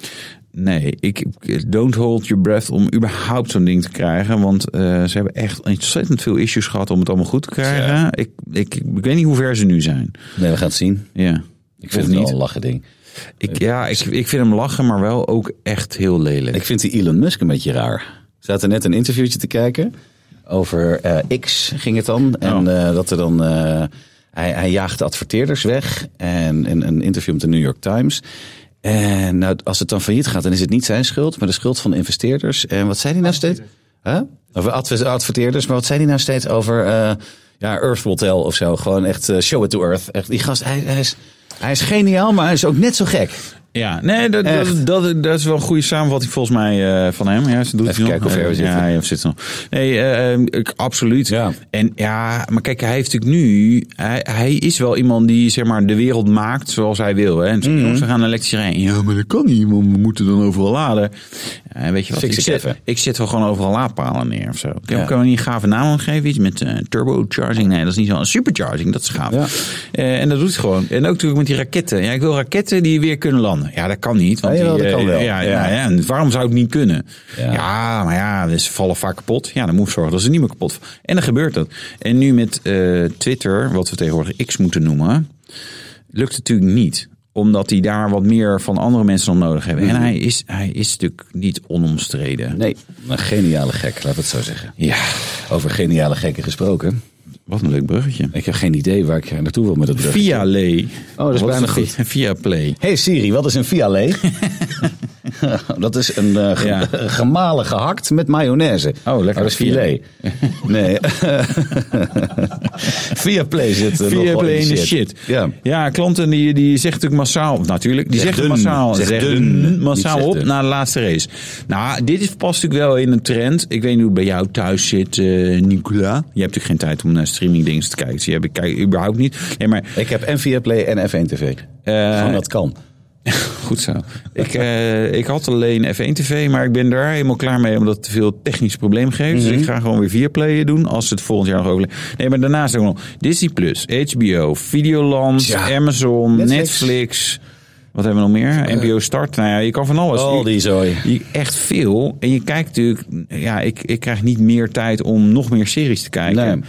Speaker 2: Nee, ik don't hold your breath om überhaupt zo'n ding te krijgen. Want eh, ze hebben echt ontzettend veel issues gehad om het allemaal goed te krijgen. Ik, ik, ik weet niet hoe ver ze nu zijn.
Speaker 1: Nee, we gaan het zien.
Speaker 2: Ja.
Speaker 1: Ik vind
Speaker 2: Of
Speaker 1: het wel een lachen ding.
Speaker 2: Ik, ja, ik, ik vind hem lachen, maar wel ook echt heel lelijk.
Speaker 1: Ik vind die Elon Musk een beetje raar. We zaten net een interviewtje te kijken. Over eh, X ging het dan. En eh, dat er dan... eh, hij, hij jaagt adverteerders weg. En, en een interview met de New York Times. En nou, als het dan failliet gaat, dan is het niet zijn schuld. Maar de schuld van de investeerders. En wat zei hij nou steeds? Huh? Over adver- adverteerders. Maar wat zei hij nou steeds over... eh, ja, Earth will tell of zo. Gewoon echt eh, show it to earth. Echt, die gast, hij, hij, is, hij is geniaal, maar hij is ook net zo gek.
Speaker 2: Ja, nee, dat, dat,
Speaker 1: Echt.
Speaker 2: dat, dat is wel een goede samenvatting volgens mij eh, van hem. Ja, ze
Speaker 1: Even
Speaker 2: doet het nog.
Speaker 1: kijken hoe ver we
Speaker 2: Eh,
Speaker 1: zitten.
Speaker 2: Ja, ja, of zit ze nog. Nee, eh, eh, ik, absoluut.
Speaker 1: Ja.
Speaker 2: En ja, maar kijk, hij heeft natuurlijk nu... Hij, hij is wel iemand die zeg maar, de wereld maakt zoals hij wil. Hè. En
Speaker 1: Mhm.
Speaker 2: soms ze gaan elektrisch rijden. Ja, maar dat kan niet, want we moeten dan overal laden. Eh, weet je wat,
Speaker 1: Fix
Speaker 2: ik
Speaker 1: het
Speaker 2: zet,
Speaker 1: even.
Speaker 2: ik zet wel gewoon overal laadpalen neer of zo. Kan,
Speaker 1: Ja.
Speaker 2: kan we niet een gave naam aan geven? Iets met eh, turbocharging? Nee, dat is niet zo. Supercharging, dat is gaaf.
Speaker 1: Ja.
Speaker 2: Eh, en dat doet het gewoon. En ook natuurlijk met die raketten. Ja, ik wil raketten die weer kunnen landen. Ja, dat kan niet. Want
Speaker 1: Ja, jawel,
Speaker 2: die,
Speaker 1: dat
Speaker 2: eh,
Speaker 1: kan wel.
Speaker 2: Ja, ja.
Speaker 1: Ja.
Speaker 2: ja, en waarom zou het niet kunnen? Ja,
Speaker 1: Ja.
Speaker 2: maar ja, dus ze vallen vaak kapot. Ja, dan moet je zorgen dat ze niet meer kapot vallen. En dan gebeurt dat. En nu met eh, Twitter, wat we tegenwoordig X moeten noemen, lukt het natuurlijk niet omdat hij daar wat meer van andere mensen dan nodig hebben.
Speaker 1: Mhm.
Speaker 2: En hij is, hij is natuurlijk niet onomstreden.
Speaker 1: Nee, een geniale gek, laten we het zo zeggen.
Speaker 2: Ja,
Speaker 1: Over geniale gekken gesproken.
Speaker 2: wat een leuk bruggetje.
Speaker 1: Ik heb geen idee waar ik naartoe wil met dat brug.
Speaker 2: Via Lee.
Speaker 1: Oh, dat is
Speaker 2: Wat
Speaker 1: bijna
Speaker 2: het? Via Play.
Speaker 1: Hey Siri, wat is een Vialet? Dat is een eh, ge-
Speaker 2: Ja.
Speaker 1: gemalen gehakt met mayonaise.
Speaker 2: Oh, lekker.
Speaker 1: dat is filet. nee. Via Play zit eh, nog
Speaker 2: Via
Speaker 1: wel
Speaker 2: play
Speaker 1: in
Speaker 2: in
Speaker 1: die
Speaker 2: de shit.
Speaker 1: Ja.
Speaker 2: ja, klanten die, die zegt natuurlijk massaal, natuurlijk, die
Speaker 1: Zegt
Speaker 2: zeggen
Speaker 1: dun.
Speaker 2: massaal,
Speaker 1: Zegt
Speaker 2: zeggen
Speaker 1: dun.
Speaker 2: dun,
Speaker 1: Niet
Speaker 2: massaal
Speaker 1: zegt
Speaker 2: op
Speaker 1: dun.
Speaker 2: na de laatste race. Nou, dit is, past natuurlijk wel in een trend. Ik weet niet hoe het bij jou thuis zit, eh, Nicola. Je hebt natuurlijk geen tijd om naar streamingdingen te kijken. Dus die heb ik kijk, überhaupt niet. Nee, maar
Speaker 1: Ik heb en Via Play en F1 TV.
Speaker 2: Eh,
Speaker 1: Van dat kan.
Speaker 2: Goed zo. Ik, eh, ik had alleen F1 TV, maar ik ben daar helemaal klaar mee omdat het te veel technisch probleem geeft.
Speaker 1: Mhm.
Speaker 2: Dus ik ga gewoon weer vier player doen als het volgend jaar nog overleeft. Nee, maar daarnaast ook nog Disney Plus, HBO, Videoland,
Speaker 1: Tja.
Speaker 2: Amazon, Netflix.
Speaker 1: Netflix. Eh.
Speaker 2: Wat hebben we nog meer? NPO Start. Nou ja, je kan van alles.
Speaker 1: Al die zooi.
Speaker 2: Je- echt veel. En je kijkt natuurlijk, ja, ik, ik krijg niet meer tijd om nog meer series te kijken.
Speaker 1: Nee.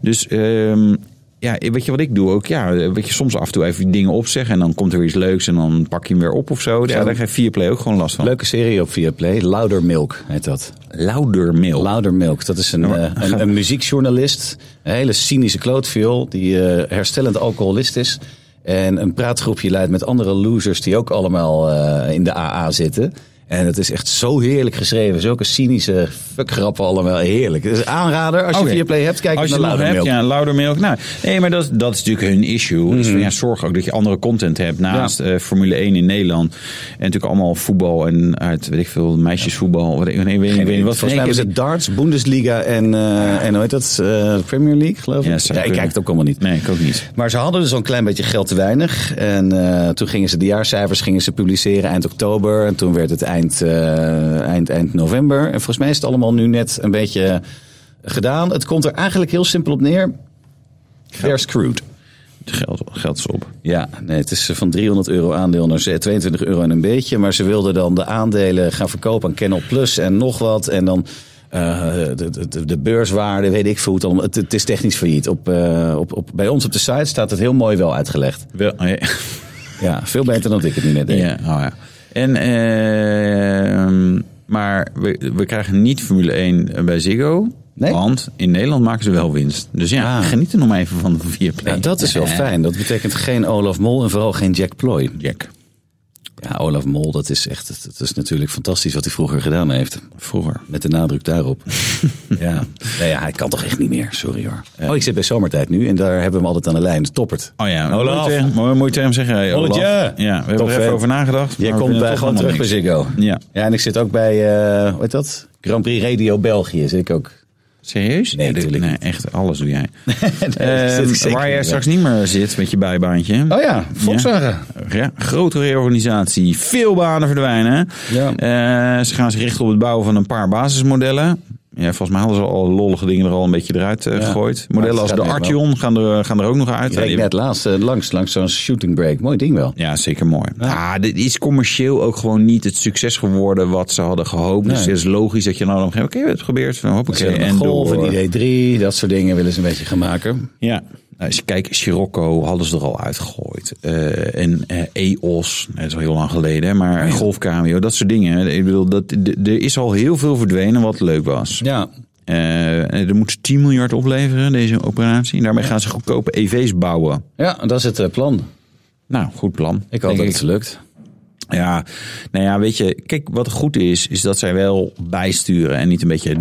Speaker 2: Dus ehm, ja, weet je wat ik doe ook? Ja, weet je, soms af en toe even dingen opzeggen en dan komt er iets leuks en dan pak je hem weer op of zo. Ja, daar krijgt Viaplay ook gewoon last van.
Speaker 1: Leuke serie op Via Play. Louder Milk heet dat.
Speaker 2: Louder mail.
Speaker 1: Louder Milk, dat is een,
Speaker 2: Nou,
Speaker 1: eh, een, een muziekjournalist. Een hele cynische klootviool die eh, herstellend alcoholist is. En een praatgroepje leidt met andere losers die ook allemaal eh, in de AA zitten. En het is echt zo heerlijk geschreven. Zulke cynische fuckgrappen allemaal. Heerlijk. Het is een aanrader. Als je
Speaker 2: Oké.
Speaker 1: Viaplay hebt, kijk
Speaker 2: Als je
Speaker 1: naar
Speaker 2: het nog
Speaker 1: Louder
Speaker 2: hebt,
Speaker 1: Milk.
Speaker 2: ja, louder milk. Nou, nee, maar dat, is- dat is natuurlijk hun issue.
Speaker 1: Mhm.
Speaker 2: Dus van, ja, zorg ook dat je andere content hebt naast eh, Formule 1 in Nederland. En natuurlijk allemaal voetbal en uit, weet ik veel, meisjesvoetbal. Wat, ik- nee, weet, ik weet niet wat.
Speaker 1: Volgens
Speaker 2: Nee,
Speaker 1: mij
Speaker 2: ik-
Speaker 1: was het darts, Bundesliga en, eh en hoe heet dat? Eh, Premier League, geloof ik.
Speaker 2: Ja,
Speaker 1: Ja,
Speaker 2: zou
Speaker 1: ik
Speaker 2: kunnen.
Speaker 1: kijk het ook allemaal niet.
Speaker 2: Nee, ik ook niet.
Speaker 1: Maar ze hadden dus al een klein beetje geld te weinig. En eh, toen gingen ze de jaarcijfers gingen ze publiceren eind oktober. En toen werd het eind, eh, eind, eind november. En volgens mij is het allemaal nu net een beetje gedaan. Het komt er eigenlijk heel simpel op neer. They're screwed.
Speaker 2: Geld, geld is op.
Speaker 1: Ja, nee, het is eh, van 300 euro aandeel naar 22 euro en een beetje. Maar ze wilden dan de aandelen gaan verkopen aan Kennel Plus en nog wat. En dan eh, de, de, de beurswaarde, weet ik veel hoe het allemaal. Het, het is technisch failliet. Op, eh, op, op, bij ons op de site staat het heel mooi wel eh, uitgelegd.
Speaker 2: Wel, ja.
Speaker 1: Ja, veel beter dan ik het nu net deed.
Speaker 2: Ja, oh ja. En, ehm, maar we, we krijgen niet Formule 1 bij Ziggo.
Speaker 1: Nee?
Speaker 2: Want in Nederland maken ze wel winst. Dus ja,
Speaker 1: Ah.
Speaker 2: geniet er nog maar even van de vier Eh,
Speaker 1: Ja, dat is wel fijn. Dat betekent geen Olaf Mol en vooral geen Jack Ploy.
Speaker 2: Jack,
Speaker 1: Ja, Olaf Mol, dat is echt, dat is natuurlijk fantastisch wat hij vroeger gedaan heeft.
Speaker 2: vroeger.
Speaker 1: Met de nadruk daarop. ja. Nee, ja, hij kan toch echt niet meer. Sorry hoor. Oh, ik zit bij zomertijd nu en daar hebben we hem altijd aan de lijn. Toppert.
Speaker 2: Oh ja,
Speaker 1: Olaf.
Speaker 2: mooi tegen- mooi, mooi tegen hem zeggen. Hey, Olaf.
Speaker 1: Olletje.
Speaker 2: Ja, we hebben
Speaker 1: Tof,
Speaker 2: er even
Speaker 1: hè?
Speaker 2: over nagedacht.
Speaker 1: Jij
Speaker 2: maar we
Speaker 1: komt
Speaker 2: vinden
Speaker 1: eh,
Speaker 2: het
Speaker 1: gewoon
Speaker 2: toch
Speaker 1: terug bij
Speaker 2: allemaal
Speaker 1: Ziggo.
Speaker 2: Ja.
Speaker 1: ja, en ik zit ook bij, eh hoe heet dat? Grand Prix Radio België zit ik ook.
Speaker 2: niks. Serieus?
Speaker 1: Nee,
Speaker 2: Ja, dit-
Speaker 1: natuurlijk
Speaker 2: nee, echt alles doe jij.
Speaker 1: dat zit ik
Speaker 2: Ehm,
Speaker 1: zeker
Speaker 2: waar
Speaker 1: niet
Speaker 2: jij
Speaker 1: bij.
Speaker 2: straks niet meer zit met je bijbaantje.
Speaker 1: Oh ja, Volkswagen.
Speaker 2: Ja, grote reorganisatie, veel banen verdwijnen.
Speaker 1: Ja.
Speaker 2: Eh, ze gaan zich richten op het bouwen van een paar basismodellen. Ja, volgens mij hadden ze al lollige dingen er al een beetje eruit eh, gegooid. Modellen
Speaker 1: Maar
Speaker 2: als
Speaker 1: het
Speaker 2: de
Speaker 1: gaat weer wel.
Speaker 2: Artion gaan er, eh, gaan er ook nog uit.
Speaker 1: Ik reed
Speaker 2: Ja, die-
Speaker 1: net laatst eh, langs, langs zo'n shooting break. Mooi ding wel.
Speaker 2: ja, zeker mooi. Ah, dit is commercieel ook gewoon niet het succes geworden wat ze hadden gehoopt. Dus
Speaker 1: Nee.
Speaker 2: het is logisch dat je nou dan op een gegeven moment, oké, we hebben het geprobeerd.
Speaker 1: Ze
Speaker 2: Hoppakee,
Speaker 1: hebben
Speaker 2: en
Speaker 1: een Golf,
Speaker 2: door.
Speaker 1: een ID3, dat soort dingen willen ze een beetje gaan maken.
Speaker 2: Ja. Nou, Als je kijkt, Scirocco hadden ze er al uitgegooid. Eh, en eh, EOS, dat is al heel lang geleden, hè, maar
Speaker 1: Oh
Speaker 2: Golf Cameo, dat soort dingen. Ik bedoel, dat, d- er is al heel veel verdwenen wat leuk was.
Speaker 1: Ja,
Speaker 2: Eh, er moet 10 miljard opleveren, deze operatie. En daarmee gaan ze goedkope EV's bouwen.
Speaker 1: ja dat is het eh, plan.
Speaker 2: Nou, goed plan.
Speaker 1: Ik hoop
Speaker 2: denk
Speaker 1: dat het lukt.
Speaker 2: ja, nou ja, weet je, kijk, wat goed is, is dat zij wel bijsturen en niet een beetje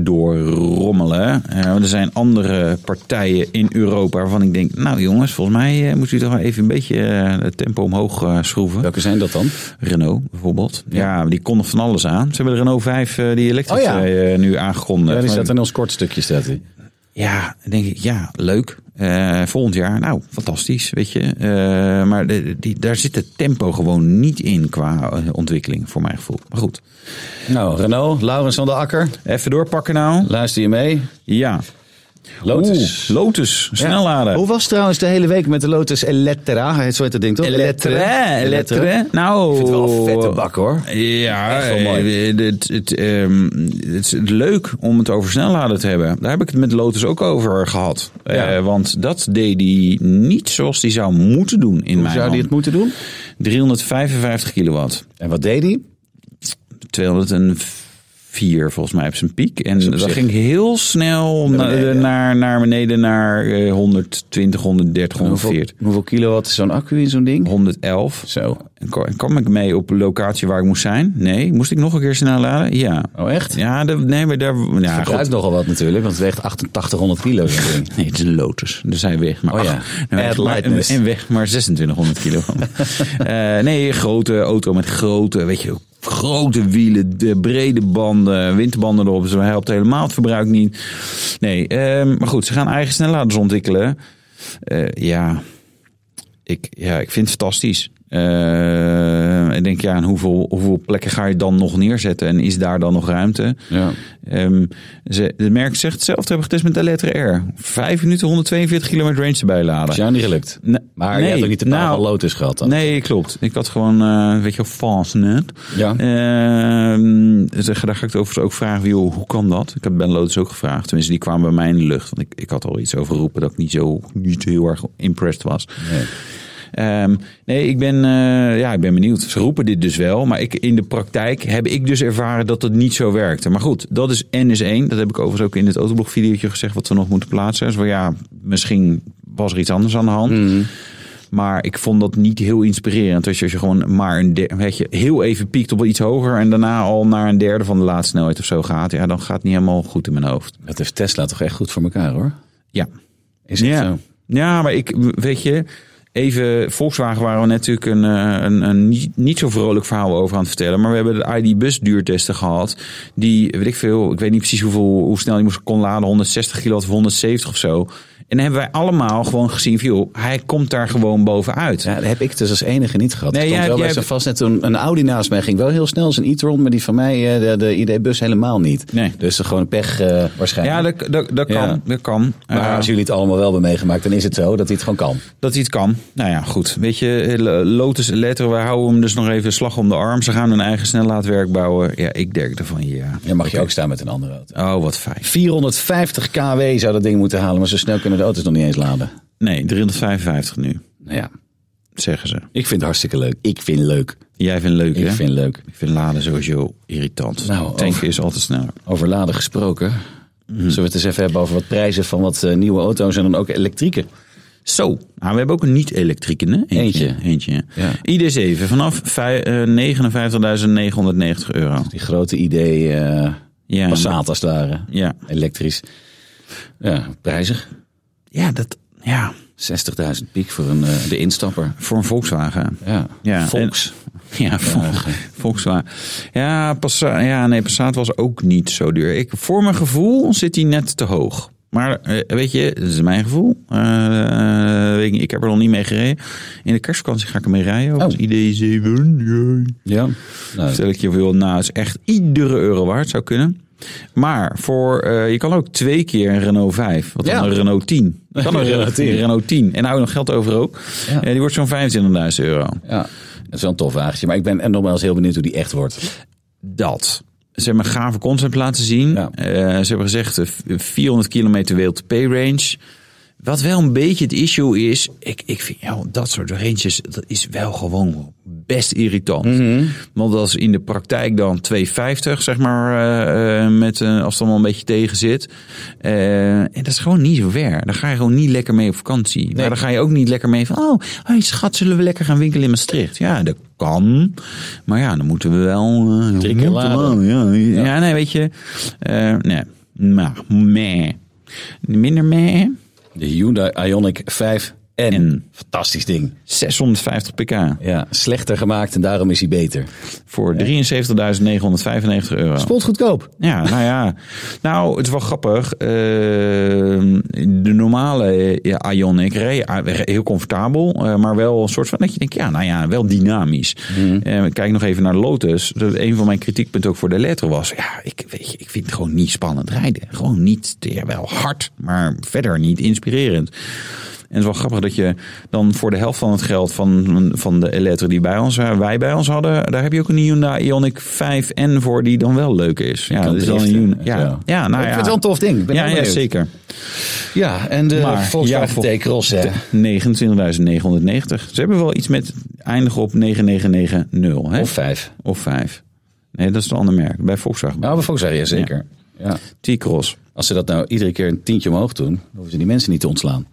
Speaker 2: doorrommelen. Eh, want er zijn andere partijen in Europa waarvan ik denk, nou jongens, volgens mij eh, moet u toch wel even een beetje eh, het tempo omhoog eh, schroeven.
Speaker 1: Welke zijn dat dan?
Speaker 2: Renault bijvoorbeeld. Ja, die kon nog van alles aan. Ze hebben de Renault 5, eh, die elektrisch
Speaker 1: Oh ja.
Speaker 2: eh, nu aangekondigd.
Speaker 1: Ja, die
Speaker 2: Maar-
Speaker 1: staat in ons kort stukje, staat hij.
Speaker 2: ja, dan denk ik, ja, leuk. Eh, volgend jaar, nou, fantastisch, weet je. Eh, maar de- die, daar zit het tempo gewoon niet in qua eh, ontwikkeling, voor mijn gevoel. Maar goed,
Speaker 1: Nou, Renault, Laurens van der Akker,
Speaker 2: even doorpakken nou.
Speaker 1: luister je mee?
Speaker 2: Ja.
Speaker 1: Lotus.
Speaker 2: Oeh, Lotus,
Speaker 1: Ja.
Speaker 2: snelladen.
Speaker 1: Hoe was trouwens de hele week met de Lotus Elettra? Heet zo heet dat ding toch?
Speaker 2: Elettre, elettre. Nou,
Speaker 1: Ik vind het wel een Oh, vette bak, hoor.
Speaker 2: Ja,
Speaker 1: Echt wel mooi.
Speaker 2: eh, het, het, ehm, het is leuk om het over snelladen te hebben. Daar heb ik het met Lotus ook over gehad.
Speaker 1: Ja.
Speaker 2: Eh, want dat deed hij niet zoals hij zou moeten doen in
Speaker 1: Hoe
Speaker 2: mijn
Speaker 1: zou die het
Speaker 2: hand.
Speaker 1: moeten doen?
Speaker 2: 355 kilowatt.
Speaker 1: En wat deed hij?
Speaker 2: 204 vier volgens mij op zijn piek. En
Speaker 1: op
Speaker 2: dat
Speaker 1: zich-
Speaker 2: ging heel snel na-
Speaker 1: beneden, ja.
Speaker 2: naar, naar beneden naar eh, 120, 130,
Speaker 1: Hoeveel,
Speaker 2: 140.
Speaker 1: hoeveel kilowatt is zo'n accu in zo'n ding?
Speaker 2: 111.
Speaker 1: Zo.
Speaker 2: En kwam, en kwam ik mee op een locatie waar ik moest zijn? Nee. Moest ik nog een keer snel laden? Ja.
Speaker 1: Oh, echt?
Speaker 2: Ja, de- nee, maar daar... Ja,
Speaker 1: Het
Speaker 2: goed.
Speaker 1: ruikt nogal wat natuurlijk, want het weegt 8800 kilo. zo'n ding.
Speaker 2: Nee, het is een Lotus. Dus hij weegt maar,
Speaker 1: Oh ja.
Speaker 2: acht- nou,
Speaker 1: Add
Speaker 2: echt maar-
Speaker 1: lightness.
Speaker 2: en weegt maar 2600 kilo. Eh, nee, grote auto met grote, weet je, grote wielen, de brede banden, windbanden erop. Dus hij helpt helemaal het verbruik niet. Nee, ehm, maar goed, ze gaan eigen snelladers ontwikkelen. Eh, ja, ik, ja, ik vind het fantastisch. Eh, ik denk, ja, en hoeveel, hoeveel plekken ga je dan nog neerzetten? En is daar dan nog ruimte?
Speaker 1: Ja.
Speaker 2: Ehm, ze, het merk zegt hetzelfde, heb ik getest met de letter R. Vijf minuten 142 kilometer range erbij laden.
Speaker 1: Is jou niet gelukt.
Speaker 2: Ne-
Speaker 1: Maar je hebt ook niet de paal van Lotus gehad dan?
Speaker 2: Nee, klopt. Ik had gewoon, eh weet je wel, Fastnet.
Speaker 1: Ja.
Speaker 2: Ehm, zeg, daar ga ik het overigens ook vragen, wie, hoe kan dat? Ik heb Ben Lotus ook gevraagd. Tenminste, die kwamen bij mij in de lucht. Want ik, ik had al iets over roepen dat ik niet zo niet heel erg impressed was.
Speaker 1: Nee.
Speaker 2: Ehm, nee, ik ben, eh, ja, ik ben benieuwd. Ze roepen dit dus wel, maar ik, in de praktijk heb ik dus ervaren dat het niet zo werkte. Maar goed, dat is N is 1. Dat heb ik overigens ook in het autoblog videootje gezegd wat we nog moeten plaatsen. Dus van, ja, misschien was er iets anders aan de hand. Maar ik vond dat niet heel inspirerend. Als je, als je gewoon maar een derde, weet je, heel even piekt op iets hoger en daarna al naar een derde van de laatste snelheid of zo gaat. Ja, dan gaat het niet helemaal goed in mijn hoofd.
Speaker 1: Dat heeft Tesla toch echt goed voor elkaar hoor.
Speaker 2: Ja.
Speaker 1: Is het
Speaker 2: ja.
Speaker 1: zo?
Speaker 2: Ja, maar ik weet je. Even, Volkswagen waren we natuurlijk een, eh, een, een niet, niet zo vrolijk verhaal over aan het vertellen. Maar we hebben de ID-bus duurtesten gehad. Die, weet ik veel, ik weet niet precies hoeveel, hoe snel die moest kon laden. 160 kilo of 170 of zo. En dan hebben wij allemaal gewoon gezien, van, joh, hij komt daar gewoon bovenuit.
Speaker 1: Ja, dat heb ik dus als enige niet gehad.
Speaker 2: Nee,
Speaker 1: Nee,
Speaker 2: jij
Speaker 1: stond
Speaker 2: hebt-
Speaker 1: wel bij
Speaker 2: jij
Speaker 1: zo'n vast net toen een Audi naast mij ging wel heel snel zijn e-tron, maar die van mij eh, de, de ID-bus helemaal niet.
Speaker 2: Nee.
Speaker 1: Dus gewoon pech eh, waarschijnlijk.
Speaker 2: Ja, dat, dat, dat kan.
Speaker 1: Ja.
Speaker 2: Dat kan.
Speaker 1: maar
Speaker 2: Eh,
Speaker 1: als jullie het allemaal wel hebben meegemaakt, dan is het zo dat hij het gewoon kan.
Speaker 2: Dat hij het kan. Nou ja, goed. Weet je, eh, Lotus Letter, we houden hem dus nog even slag om de arm. Ze gaan hun eigen snellaadwerk bouwen. Ja, ik denk ervan, ja.
Speaker 1: Dan mag je ook staan met een andere auto.
Speaker 2: Oh, wat fijn.
Speaker 1: 450 kW zou dat ding moeten halen, maar zo snel kunnen de auto's nog niet eens laden.
Speaker 2: Nee, 355 nu,
Speaker 1: Nou ja,
Speaker 2: zeggen ze.
Speaker 1: ik vind het hartstikke leuk. Ik vind het leuk.
Speaker 2: Jij vindt leuk,
Speaker 1: Ik
Speaker 2: hè?
Speaker 1: vind het leuk.
Speaker 2: Ik vind laden sowieso irritant.
Speaker 1: Nou,
Speaker 2: Tanken
Speaker 1: over-
Speaker 2: is altijd sneller.
Speaker 1: Over laden gesproken. Zullen we het eens even hebben over wat prijzen van wat eh, nieuwe auto's en dan ook elektrieke?
Speaker 2: Zo, nou, we hebben ook een niet-elektrieke, hè?
Speaker 1: Eentje.
Speaker 2: Eentje,
Speaker 1: Ja.
Speaker 2: ID7 vanaf vij- eh, 59.990 euro.
Speaker 1: Die grote idee eh
Speaker 2: Ja.
Speaker 1: Passat als het ware.
Speaker 2: Ja.
Speaker 1: Elektrisch. Ja, prijzig.
Speaker 2: Ja, dat... Ja,
Speaker 1: 60.000 piek voor een, eh, de instapper.
Speaker 2: voor een Volkswagen.
Speaker 1: Ja,
Speaker 2: Ja,
Speaker 1: Volks.
Speaker 2: en- ja, Vol- Volkswagen. Ja, Passa, ja, nee, Passat was ook niet zo duur. Ik, voor mijn gevoel zit hij net te hoog. Maar eh, weet je, dat is mijn gevoel. Eh, weet ik, niet, ik heb er nog niet mee gereden. In de kerstvakantie ga ik ermee rijden. Oh.
Speaker 1: Oh.
Speaker 2: ID7. ja.
Speaker 1: Ja. Nou,
Speaker 2: Stel ik je veel na, is echt iedere euro waard zou kunnen. Maar voor, eh, je kan ook twee keer een Renault 5, wat dan
Speaker 1: Ja.
Speaker 2: een Renault 10. Dan een Renault 10. Renault 10. En hou nog geld over ook.
Speaker 1: Ja.
Speaker 2: Eh, die wordt zo'n 25.000 euro.
Speaker 1: ja, dat is wel een tof wagentje. Maar ik ben en nogmaals heel benieuwd hoe die echt wordt.
Speaker 2: dat. Ze hebben een gave concept laten zien.
Speaker 1: Ja.
Speaker 2: Eh, ze hebben gezegd eh, 400 kilometer WLTP range. Wat wel een beetje het issue is. Ik, ik vind ja, dat soort ranges dat is wel gewoon best irritant. Want als in de praktijk dan 250 zeg maar. eh, eh, met, eh, als het allemaal een beetje tegen zit. Eh, en dat is gewoon niet zo ver. Daar ga je gewoon niet lekker mee op vakantie. Maar dan ga je ook niet lekker mee van. Oh, hey, schat, zullen we lekker gaan winkelen in Maastricht? Ja, dat kan. Maar ja, dan moeten we wel. eh,
Speaker 1: Drie keer
Speaker 2: moeten
Speaker 1: laden.
Speaker 2: wel, ja, ja. Ja, nee, weet je. eh, nee, maar meh. Minder meh.
Speaker 1: De Hyundai Ioniq 5 n
Speaker 2: En.
Speaker 1: Fantastisch ding.
Speaker 2: 650 pk
Speaker 1: Ja, slechter gemaakt en daarom is hij beter.
Speaker 2: voor 73.995 euro.
Speaker 1: Spot goedkoop.
Speaker 2: Ja, nou ja. Nou, het is wel grappig. Eh, de normale eh, Ioniq reed a- heel comfortabel, eh, maar wel een soort van dat je denkt, ja, nou ja, wel dynamisch. Eh, kijk nog even naar Lotus. Dat een van mijn kritiekpunten ook voor de letter was. Ja, ik, weet je, ik vind het gewoon niet spannend rijden. Gewoon niet, ja, wel hard, maar verder niet inspirerend. En het is wel grappig dat je dan voor de helft van het geld van, van de Eletre die bij ons, eh, wij bij ons hadden, daar heb je ook een Hyundai Ioniq 5N voor die dan wel leuk is. Ja,
Speaker 1: kan
Speaker 2: dat is dan een
Speaker 1: driften
Speaker 2: Hyundai.
Speaker 1: en
Speaker 2: Ja,
Speaker 1: zo.
Speaker 2: ja, nou
Speaker 1: Ik vind
Speaker 2: ja.
Speaker 1: het wel een tof ding. Ik ben
Speaker 2: ja,
Speaker 1: heel
Speaker 2: ja,
Speaker 1: benieuwd.
Speaker 2: zeker.
Speaker 1: Ja, en de
Speaker 2: Maar
Speaker 1: Volkswagen
Speaker 2: ja, vol-
Speaker 1: T-Cross. hè.
Speaker 2: 29.990. Ze hebben wel iets met eindigen op 9990. Hè?
Speaker 1: Of 5.
Speaker 2: Of 5. Nee, dat is een ander merk. Bij Volkswagen.
Speaker 1: Nou, bij Volkswagen, ja, zeker. Ja.
Speaker 2: T-Cross.
Speaker 1: Als ze dat nou iedere keer een tientje omhoog doen, dan hoeven ze die mensen niet te ontslaan.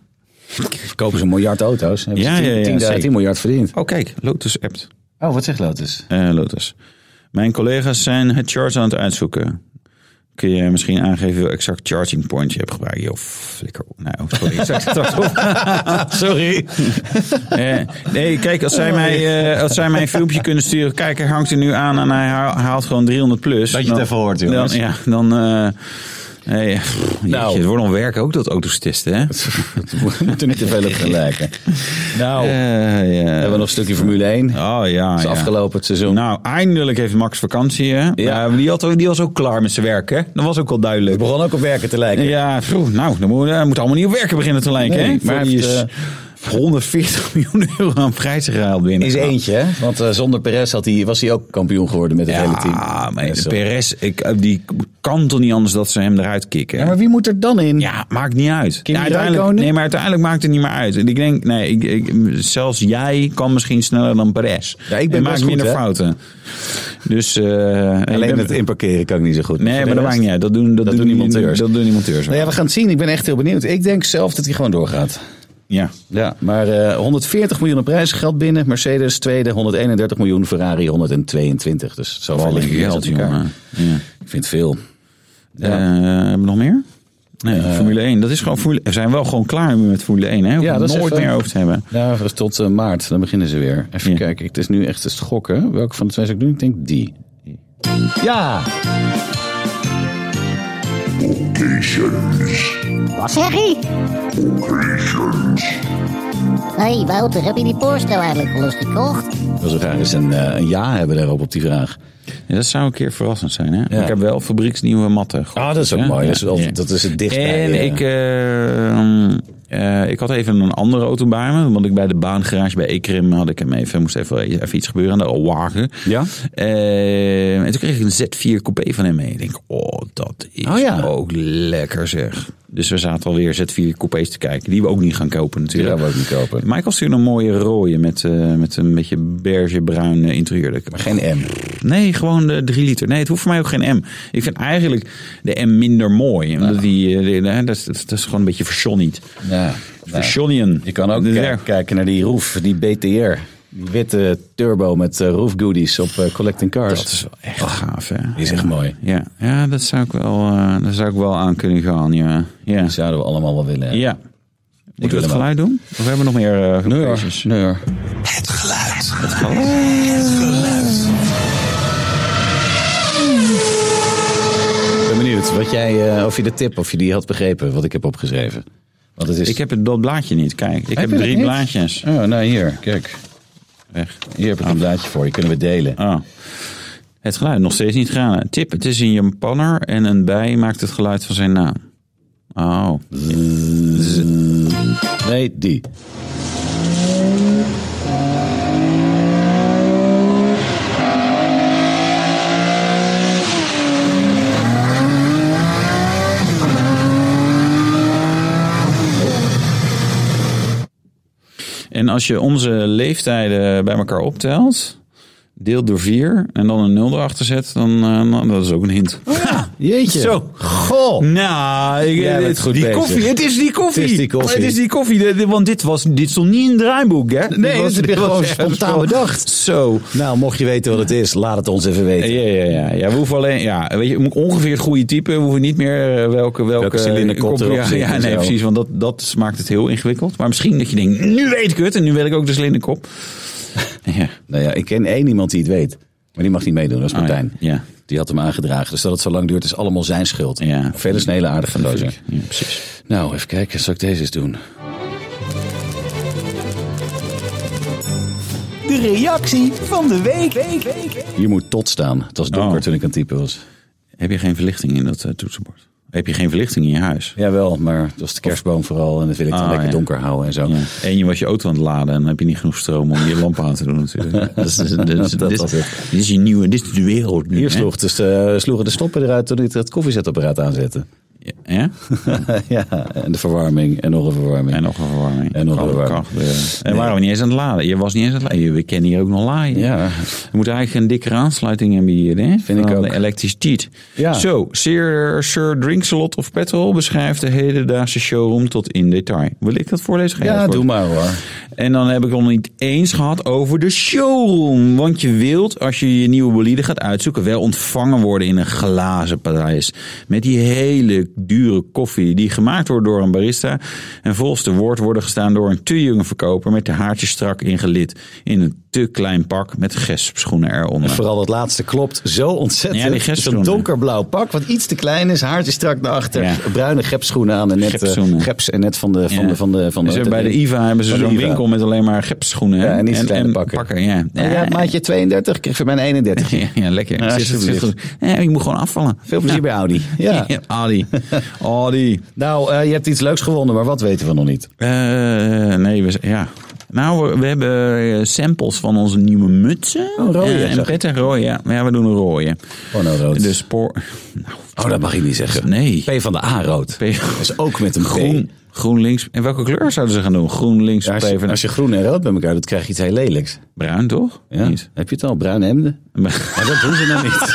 Speaker 1: Kopen ze een miljard auto's, hebben
Speaker 2: Ja,
Speaker 1: ze 10,
Speaker 2: ja, ja,
Speaker 1: 10
Speaker 2: zeker.
Speaker 1: 10 miljard verdiend.
Speaker 2: Oh, kijk. Lotus appt.
Speaker 1: Oh, wat zegt Lotus?
Speaker 2: Eh, Lotus. Mijn collega's zijn het charge aan het uitzoeken. Kun je misschien aangeven welk exact charging point je hebt gebruikt? Joh, flikker. op. Nou, sorry. Ik zag het straks op.
Speaker 1: Sorry.
Speaker 2: Eh, nee, kijk, als zij, mij, eh, als zij mij een filmpje kunnen sturen. Kijk, hij hangt er nu aan en hij haal- haalt gewoon 300 plus.
Speaker 1: Dat je het even hoort,
Speaker 2: Dan,
Speaker 1: jongens.
Speaker 2: ja, dan... eh, eh, pff,
Speaker 1: Nou.
Speaker 2: jeetje, het wordt nog werk ook dat auto's testen, hè?
Speaker 1: We moeten niet te veel op gaan lijken. Nou, we
Speaker 2: Eh, ja.
Speaker 1: hebben nog een stukje Formule 1. Het
Speaker 2: Oh ja,
Speaker 1: is
Speaker 2: ja.
Speaker 1: afgelopen het seizoen.
Speaker 2: Nou, eindelijk heeft Max vakantie, hè? Ja. maar die, had, ook- die was ook klaar met zijn werk, hè? Dat was ook wel duidelijk.
Speaker 1: Het begon ook op werken te lijken.
Speaker 2: Ja, pff, nou, dan moet, eh, moet allemaal niet op werken beginnen te lijken,
Speaker 1: Nee,
Speaker 2: hè?
Speaker 1: maar
Speaker 2: Maar die
Speaker 1: hij
Speaker 2: is
Speaker 1: heeft,
Speaker 2: 140 miljoen euro aan prijzen gehaald binnen.
Speaker 1: Is eentje, hè? Want eh, zonder Perez had hij, was hij ook kampioen geworden met het hele team.
Speaker 2: Ja, maar
Speaker 1: Dus, eh,
Speaker 2: Perez, ik, eh, die kan toch niet anders dat ze hem eruit kicken?
Speaker 1: Ja, maar wie moet er dan in?
Speaker 2: Ja, maakt niet uit.
Speaker 1: Kimi
Speaker 2: Ja, uiteindelijk,
Speaker 1: Räikkönen?
Speaker 2: nee, maar uiteindelijk maakt het niet meer uit. Ik denk, nee, ik, ik, zelfs jij kan misschien sneller dan Perez.
Speaker 1: Ja, ik ben best
Speaker 2: En maakt
Speaker 1: goed,
Speaker 2: minder
Speaker 1: hè?
Speaker 2: fouten. Dus, eh, ik
Speaker 1: Alleen
Speaker 2: ben-
Speaker 1: met inparkeren kan ik niet zo goed.
Speaker 2: Nee,
Speaker 1: Voor de
Speaker 2: maar dat
Speaker 1: rest-
Speaker 2: maakt niet uit. Dat doen, dat
Speaker 1: doen die monteurs.
Speaker 2: Dat doen die monteurs.
Speaker 1: Nou ja, we gaan het zien. Ik ben echt heel benieuwd. Ik denk zelf dat hij gewoon doorgaat.
Speaker 2: ja.
Speaker 1: Ja, maar eh 140 miljoen aan prijsgeld binnen. Mercedes tweede, 131 miljoen. Ferrari 122. Dus zo
Speaker 2: Wat
Speaker 1: vallen
Speaker 2: een geld, jongen. Ja.
Speaker 1: Ik vind het veel.
Speaker 2: Eh, hebben we nog meer? Nee, Formule 1. Dat is gewoon Formule, we zijn wel gewoon klaar nu met Formule 1. Hè? We
Speaker 1: Eh. Ja,
Speaker 2: hoeven
Speaker 1: dat is
Speaker 2: het nooit
Speaker 1: even-
Speaker 2: meer over te hebben.
Speaker 1: Ja, dat is tot eh, maart. Dan beginnen ze weer. Even
Speaker 2: Ja.
Speaker 1: kijken. Het is nu echt te schokken. Welke van de twee zou ik doen? Ik denk die. Ja!
Speaker 5: Wat zeg je? Hé, hey, Wouter, heb je die Porsche nou eigenlijk al eens gekocht?
Speaker 1: Ik wil zo graag eens een, eh, een ja hebben daarop op die vraag.
Speaker 2: Ja, dat zou een keer verrassend zijn. Hè?
Speaker 1: Ja.
Speaker 2: Ik heb wel fabrieksnieuwe matten. gekocht,
Speaker 1: Ah, dat is ook
Speaker 2: hè?
Speaker 1: mooi. Dat is wel-
Speaker 2: Ja.
Speaker 1: dat is het dichtst bij,
Speaker 2: En
Speaker 1: eh,
Speaker 2: ik, eh, eh, ik had even een andere auto bij me. Want ik bij de baangarage bij Ekrim had ik hem even. moest even, even iets gebeuren aan de wagen.
Speaker 1: Ja.
Speaker 2: Eh, en toen kreeg ik een Z4 coupé van hem mee. Ik denk, oh, dat is
Speaker 1: Oh, ja.
Speaker 2: ook lekker zeg. Dus we zaten alweer Z4 coupés te kijken. Die we ook niet gaan kopen
Speaker 1: Die
Speaker 2: natuurlijk.
Speaker 1: gaan we ook niet kopen.
Speaker 2: Michael stuurde een mooie rode met, eh, met een beetje beige-bruin eh, interieur. Dat ik-
Speaker 1: Geen M.
Speaker 2: Nee, gewoon de 3 liter. Nee, het hoeft voor mij ook geen M. Ik vind eigenlijk de M minder mooi. Omdat die, eh, die- eh, dat, is, dat is- dat is gewoon een beetje versjonnied.
Speaker 1: Ja. Nou,
Speaker 2: Versjonnien.
Speaker 1: je kan ook
Speaker 2: Dus
Speaker 1: kijk-
Speaker 2: daar-
Speaker 1: kijken naar die roef, die BTR. Die witte turbo met eh, roofgoodies op eh, Collecting Cars.
Speaker 2: Dat is wel echt gaaf, hè?
Speaker 1: Die is echt mooi.
Speaker 2: Ja, ja dat, zou ik wel, eh, dat zou ik wel aan kunnen gaan, ja. Ja.
Speaker 1: Die zouden we allemaal wel willen.
Speaker 2: ja.
Speaker 1: wil
Speaker 2: Moeten
Speaker 1: hem
Speaker 2: we het
Speaker 1: ook.
Speaker 2: geluid doen? Of hebben we nog meer eh geluidjes?
Speaker 1: Neur. Ik ben benieuwd wat jij, eh, of je de tip, of je die had begrepen, wat ik heb opgeschreven. Want het is...
Speaker 2: Ik heb het, dat blaadje niet, kijk. Ik heb,
Speaker 1: je dat
Speaker 2: drie
Speaker 1: niet?
Speaker 2: blaadjes.
Speaker 1: Oh, nou hier, kijk.
Speaker 2: Weg.
Speaker 1: Hier heb ik een blaadje voor, je kunnen we delen.
Speaker 2: Oh. Het geluid nog steeds niet gedaan. Tip, het is een Japanner en een bij maakt het geluid van zijn naam. Oh.
Speaker 1: Nee, die.
Speaker 2: En als je onze leeftijden bij elkaar optelt, deelt door vier en dan een nul erachter zet, dan eh, nou, dat is ook een hint.
Speaker 1: Oh Jeetje.
Speaker 2: Zo.
Speaker 1: Goh.
Speaker 2: Nou, ik-
Speaker 1: Jij bent
Speaker 2: het,
Speaker 1: goed
Speaker 2: die
Speaker 1: bezig.
Speaker 2: koffie, het is die koffie.
Speaker 1: Het is die koffie.
Speaker 2: Het is die koffie, de- de- want dit, was, dit stond niet in het draaiboek, hè? Dit
Speaker 1: Nee,
Speaker 2: was-
Speaker 1: dit
Speaker 2: dit
Speaker 1: is gewoon
Speaker 2: was echt
Speaker 1: spontaan
Speaker 2: gewoon-
Speaker 1: bedacht.
Speaker 2: Zo.
Speaker 1: Nou, mocht je weten wat het is, laat het ons even weten.
Speaker 2: Ja, ja, ja. ja we hoeven alleen, ja, weet je, ongeveer het goede type. We hoeven niet meer eh, welke... Welke,
Speaker 1: Welke cilinderkop
Speaker 2: kop-
Speaker 1: erop
Speaker 2: ja,
Speaker 1: zit
Speaker 2: Ja,
Speaker 1: en
Speaker 2: nee,
Speaker 1: zo.
Speaker 2: precies, want dat, dat maakt het heel ingewikkeld. Maar misschien dat je denkt, nu weet ik het en nu weet ik ook de cilinderkop. Ja.
Speaker 1: Nou ja, ik ken één iemand die het weet. Maar die mag niet meedoen, dat is Martijn.
Speaker 2: oh ja. Ja.
Speaker 1: Die had hem aangedragen. Dus dat het zo lang duurt, is allemaal zijn schuld.
Speaker 2: Ja.
Speaker 1: Verder is een hele aardige gozer.
Speaker 2: Ja, precies.
Speaker 1: Nou, even kijken. Zal ik deze eens doen?
Speaker 4: De reactie van de week. week, week, week.
Speaker 1: Hier moet tot staan. Het was donker
Speaker 2: Oh.
Speaker 1: toen ik aan het typen was.
Speaker 2: Heb je geen verlichting in dat eh, toetsenbord? Heb je geen verlichting in je huis?
Speaker 1: Jawel, maar het was de kerstboom vooral. En dat wil ik dan
Speaker 2: Ah,
Speaker 1: lekker
Speaker 2: ja.
Speaker 1: donker houden en zo.
Speaker 2: Ja. En je was je auto aan het laden en dan heb je niet genoeg stroom om je lamp aan te doen natuurlijk. Dat is, dat is- dat is-
Speaker 1: Dat
Speaker 2: dit,
Speaker 1: was het.
Speaker 2: dit is je nieuwe, dit is de wereld nu.
Speaker 1: Hier
Speaker 2: hè?
Speaker 1: sloeg dus, eh, sloegen de stoppen eruit toen ik het koffiezetapparaat aanzette.
Speaker 2: Ja?
Speaker 1: ja, en de verwarming en nog een verwarming.
Speaker 2: En nog een verwarming.
Speaker 1: En nog een
Speaker 2: Kan-
Speaker 1: verwarming.
Speaker 2: kan gebeuren. En waren we niet eens aan het laden. Je was niet eens aan het laden. We kennen hier ook nog laaien.
Speaker 1: Ja.
Speaker 2: We moeten eigenlijk een dikkere aansluiting hebben hier. Hè?
Speaker 1: Vind ik
Speaker 2: Van
Speaker 1: ook.
Speaker 2: De elektriciteit.
Speaker 1: Ja.
Speaker 2: Zo, Sir, Sir Drinksalot of Petrol beschrijft de hedendaagse showroom tot in detail. Wil ik dat voorlezen? Ga jij
Speaker 1: ja,
Speaker 2: dat
Speaker 1: doe
Speaker 2: voorlezen?
Speaker 1: maar hoor.
Speaker 2: En dan heb ik het nog niet eens gehad over de showroom. Want je wilt, als je je nieuwe bolide gaat uitzoeken, wel ontvangen worden in een glazen paleis. Met die hele dure koffie die gemaakt wordt door een barista. En volgens de woord worden gestaan door een te jonge verkoper met de haartjes strak ingelid. In een te klein pak met gespschoenen eronder.
Speaker 1: Vooral dat laatste klopt zo ontzettend.
Speaker 2: Ja, die
Speaker 1: Zo'n
Speaker 2: gepschoenen.
Speaker 1: donkerblauw pak, wat iets te klein is, haartje strak naar achter,
Speaker 2: Ja.
Speaker 1: bruine gepschoenen aan en net eh,
Speaker 2: Gepschoenen.
Speaker 1: geps en net van de van
Speaker 2: Ja.
Speaker 1: de van de van de.
Speaker 2: En ze hebben bij de IVA hebben ze
Speaker 1: van de
Speaker 2: zo'n
Speaker 1: IVA.
Speaker 2: winkel met alleen maar gepschoenen. hè?
Speaker 1: Ja, en niet zo'n kleine pakken.
Speaker 2: ja.
Speaker 1: Oh ja, maatje 32, ik kreeg voor mijn 31.
Speaker 2: Ja, ja, lekker.
Speaker 1: Ja,
Speaker 2: Ja, zit, zit
Speaker 1: alsjeblieft.
Speaker 2: goed. Ja, ik moet gewoon afvallen.
Speaker 1: Veel plezier bij Audi. Ja.
Speaker 2: Ja, Adi. Adi.
Speaker 1: Nou, eh, je hebt iets leuks gewonnen, maar wat weten we nog niet?
Speaker 2: Eh, nee, we, ja. Nou, we, we hebben eh, samples van onze nieuwe mutsen.
Speaker 1: Oh, rode,
Speaker 2: Eh, en
Speaker 1: zag
Speaker 2: pet en rode, ja. Maar ja, we doen een rode.
Speaker 1: Oh, nou, rood.
Speaker 2: De spoor... Nou,
Speaker 1: Oh, dat mag je niet zeggen.
Speaker 2: Nee.
Speaker 1: P van de A rood.
Speaker 2: P-
Speaker 1: Dat is ook met een P.
Speaker 2: Groen, groen links. En welke kleur zouden ze gaan doen? Groen links,
Speaker 1: Ja, als, je,
Speaker 2: even
Speaker 1: als je groen en rood bij elkaar doet, krijg je iets heel lelijks.
Speaker 2: bruin, toch?
Speaker 1: Ja.
Speaker 2: Niet.
Speaker 1: Heb je het al? Bruine hemden? Maar dat doen ze nou niet.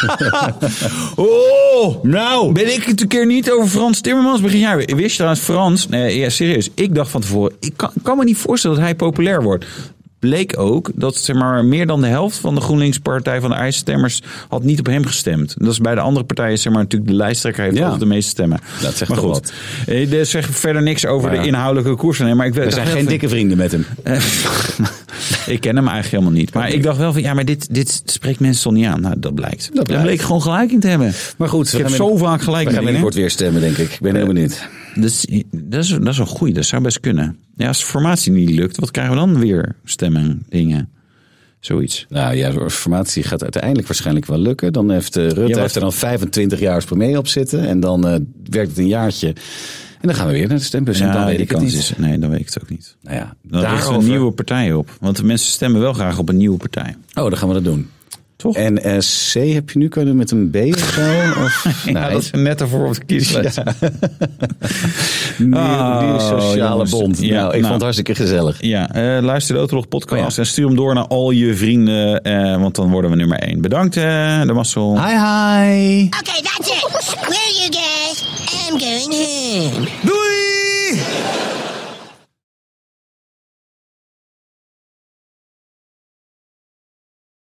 Speaker 2: Oh, nou. Ben ik het een keer niet over Frans Timmermans begin jaar? Wist je trouwens, Frans, nee, ja, serieus, ik dacht van tevoren, ik kan, kan me niet voorstellen dat hij populair wordt. Bleek ook dat zeg maar, meer dan de helft van de GroenLinks-partij van de IJsstemmers had niet op hem gestemd. Dat is bij de andere partijen zeg maar, natuurlijk de lijsttrekker heeft
Speaker 1: Ja.
Speaker 2: altijd de meeste stemmen.
Speaker 1: Dat zegt
Speaker 2: maar
Speaker 1: toch
Speaker 2: goed, eh, dat zegt verder niks over
Speaker 1: Ja.
Speaker 2: de inhoudelijke koers. van hem, maar ik
Speaker 1: We
Speaker 2: dacht
Speaker 1: zijn
Speaker 2: wel
Speaker 1: geen
Speaker 2: van-
Speaker 1: dikke vrienden met hem.
Speaker 2: eh, ik ken hem eigenlijk helemaal niet. Maar ik dacht wel van, ja, maar dit, dit spreekt mensen toch niet aan. Nou, dat blijkt. Dat
Speaker 1: blijkt.
Speaker 2: bleek gewoon gelijk in te hebben.
Speaker 1: Maar goed, we
Speaker 2: ik heb
Speaker 1: gaan
Speaker 2: zo
Speaker 1: binnen-
Speaker 2: vaak gelijk
Speaker 1: We gaan
Speaker 2: met
Speaker 1: binnenkort
Speaker 2: dingen.
Speaker 1: weer stemmen, denk ik. Ik ben heel benieuwd.
Speaker 2: Dat is, dat, is, dat is een goeie, dat zou best kunnen. Ja, als de formatie niet lukt, wat krijgen we dan weer? Stemmen, dingen, zoiets.
Speaker 1: Nou ja, de formatie gaat uiteindelijk waarschijnlijk wel lukken. Dan heeft eh, Rutte
Speaker 2: maar-
Speaker 1: heeft er dan 25 jaar als premier op zitten. En dan eh, werkt het een jaartje. En dan gaan we weer naar de stembus. en dan
Speaker 2: Ja,
Speaker 1: weet
Speaker 2: die
Speaker 1: ik het
Speaker 2: kans
Speaker 1: niet.
Speaker 2: is- Nee, dan weet ik het ook niet.
Speaker 1: Nou ja,
Speaker 2: Dan richten we een
Speaker 1: daarover-
Speaker 2: nieuwe partij op. Want de mensen stemmen wel graag op een nieuwe partij.
Speaker 1: Oh, dan gaan we dat doen.
Speaker 2: Toch?
Speaker 1: En eh, C heb je nu kunnen met een B of zo? Of, Nou,
Speaker 2: ja,
Speaker 1: nee,
Speaker 2: dat is net ervoor op de kieslijst.
Speaker 1: Nieuw- nieuw sociale
Speaker 2: jongens.
Speaker 1: bond.
Speaker 2: Ja,
Speaker 1: Oh, nou, ik
Speaker 2: nou.
Speaker 1: vond het hartstikke gezellig.
Speaker 2: Ja, eh, luister de Autolog podcast
Speaker 1: Oh ja.
Speaker 2: en stuur hem door naar al je vrienden, eh, want dan worden we nummer één. Bedankt, eh, de Marcel.
Speaker 1: Hi, hi.
Speaker 5: Okay, that's it. Where you guys? I'm going home.
Speaker 3: Doei!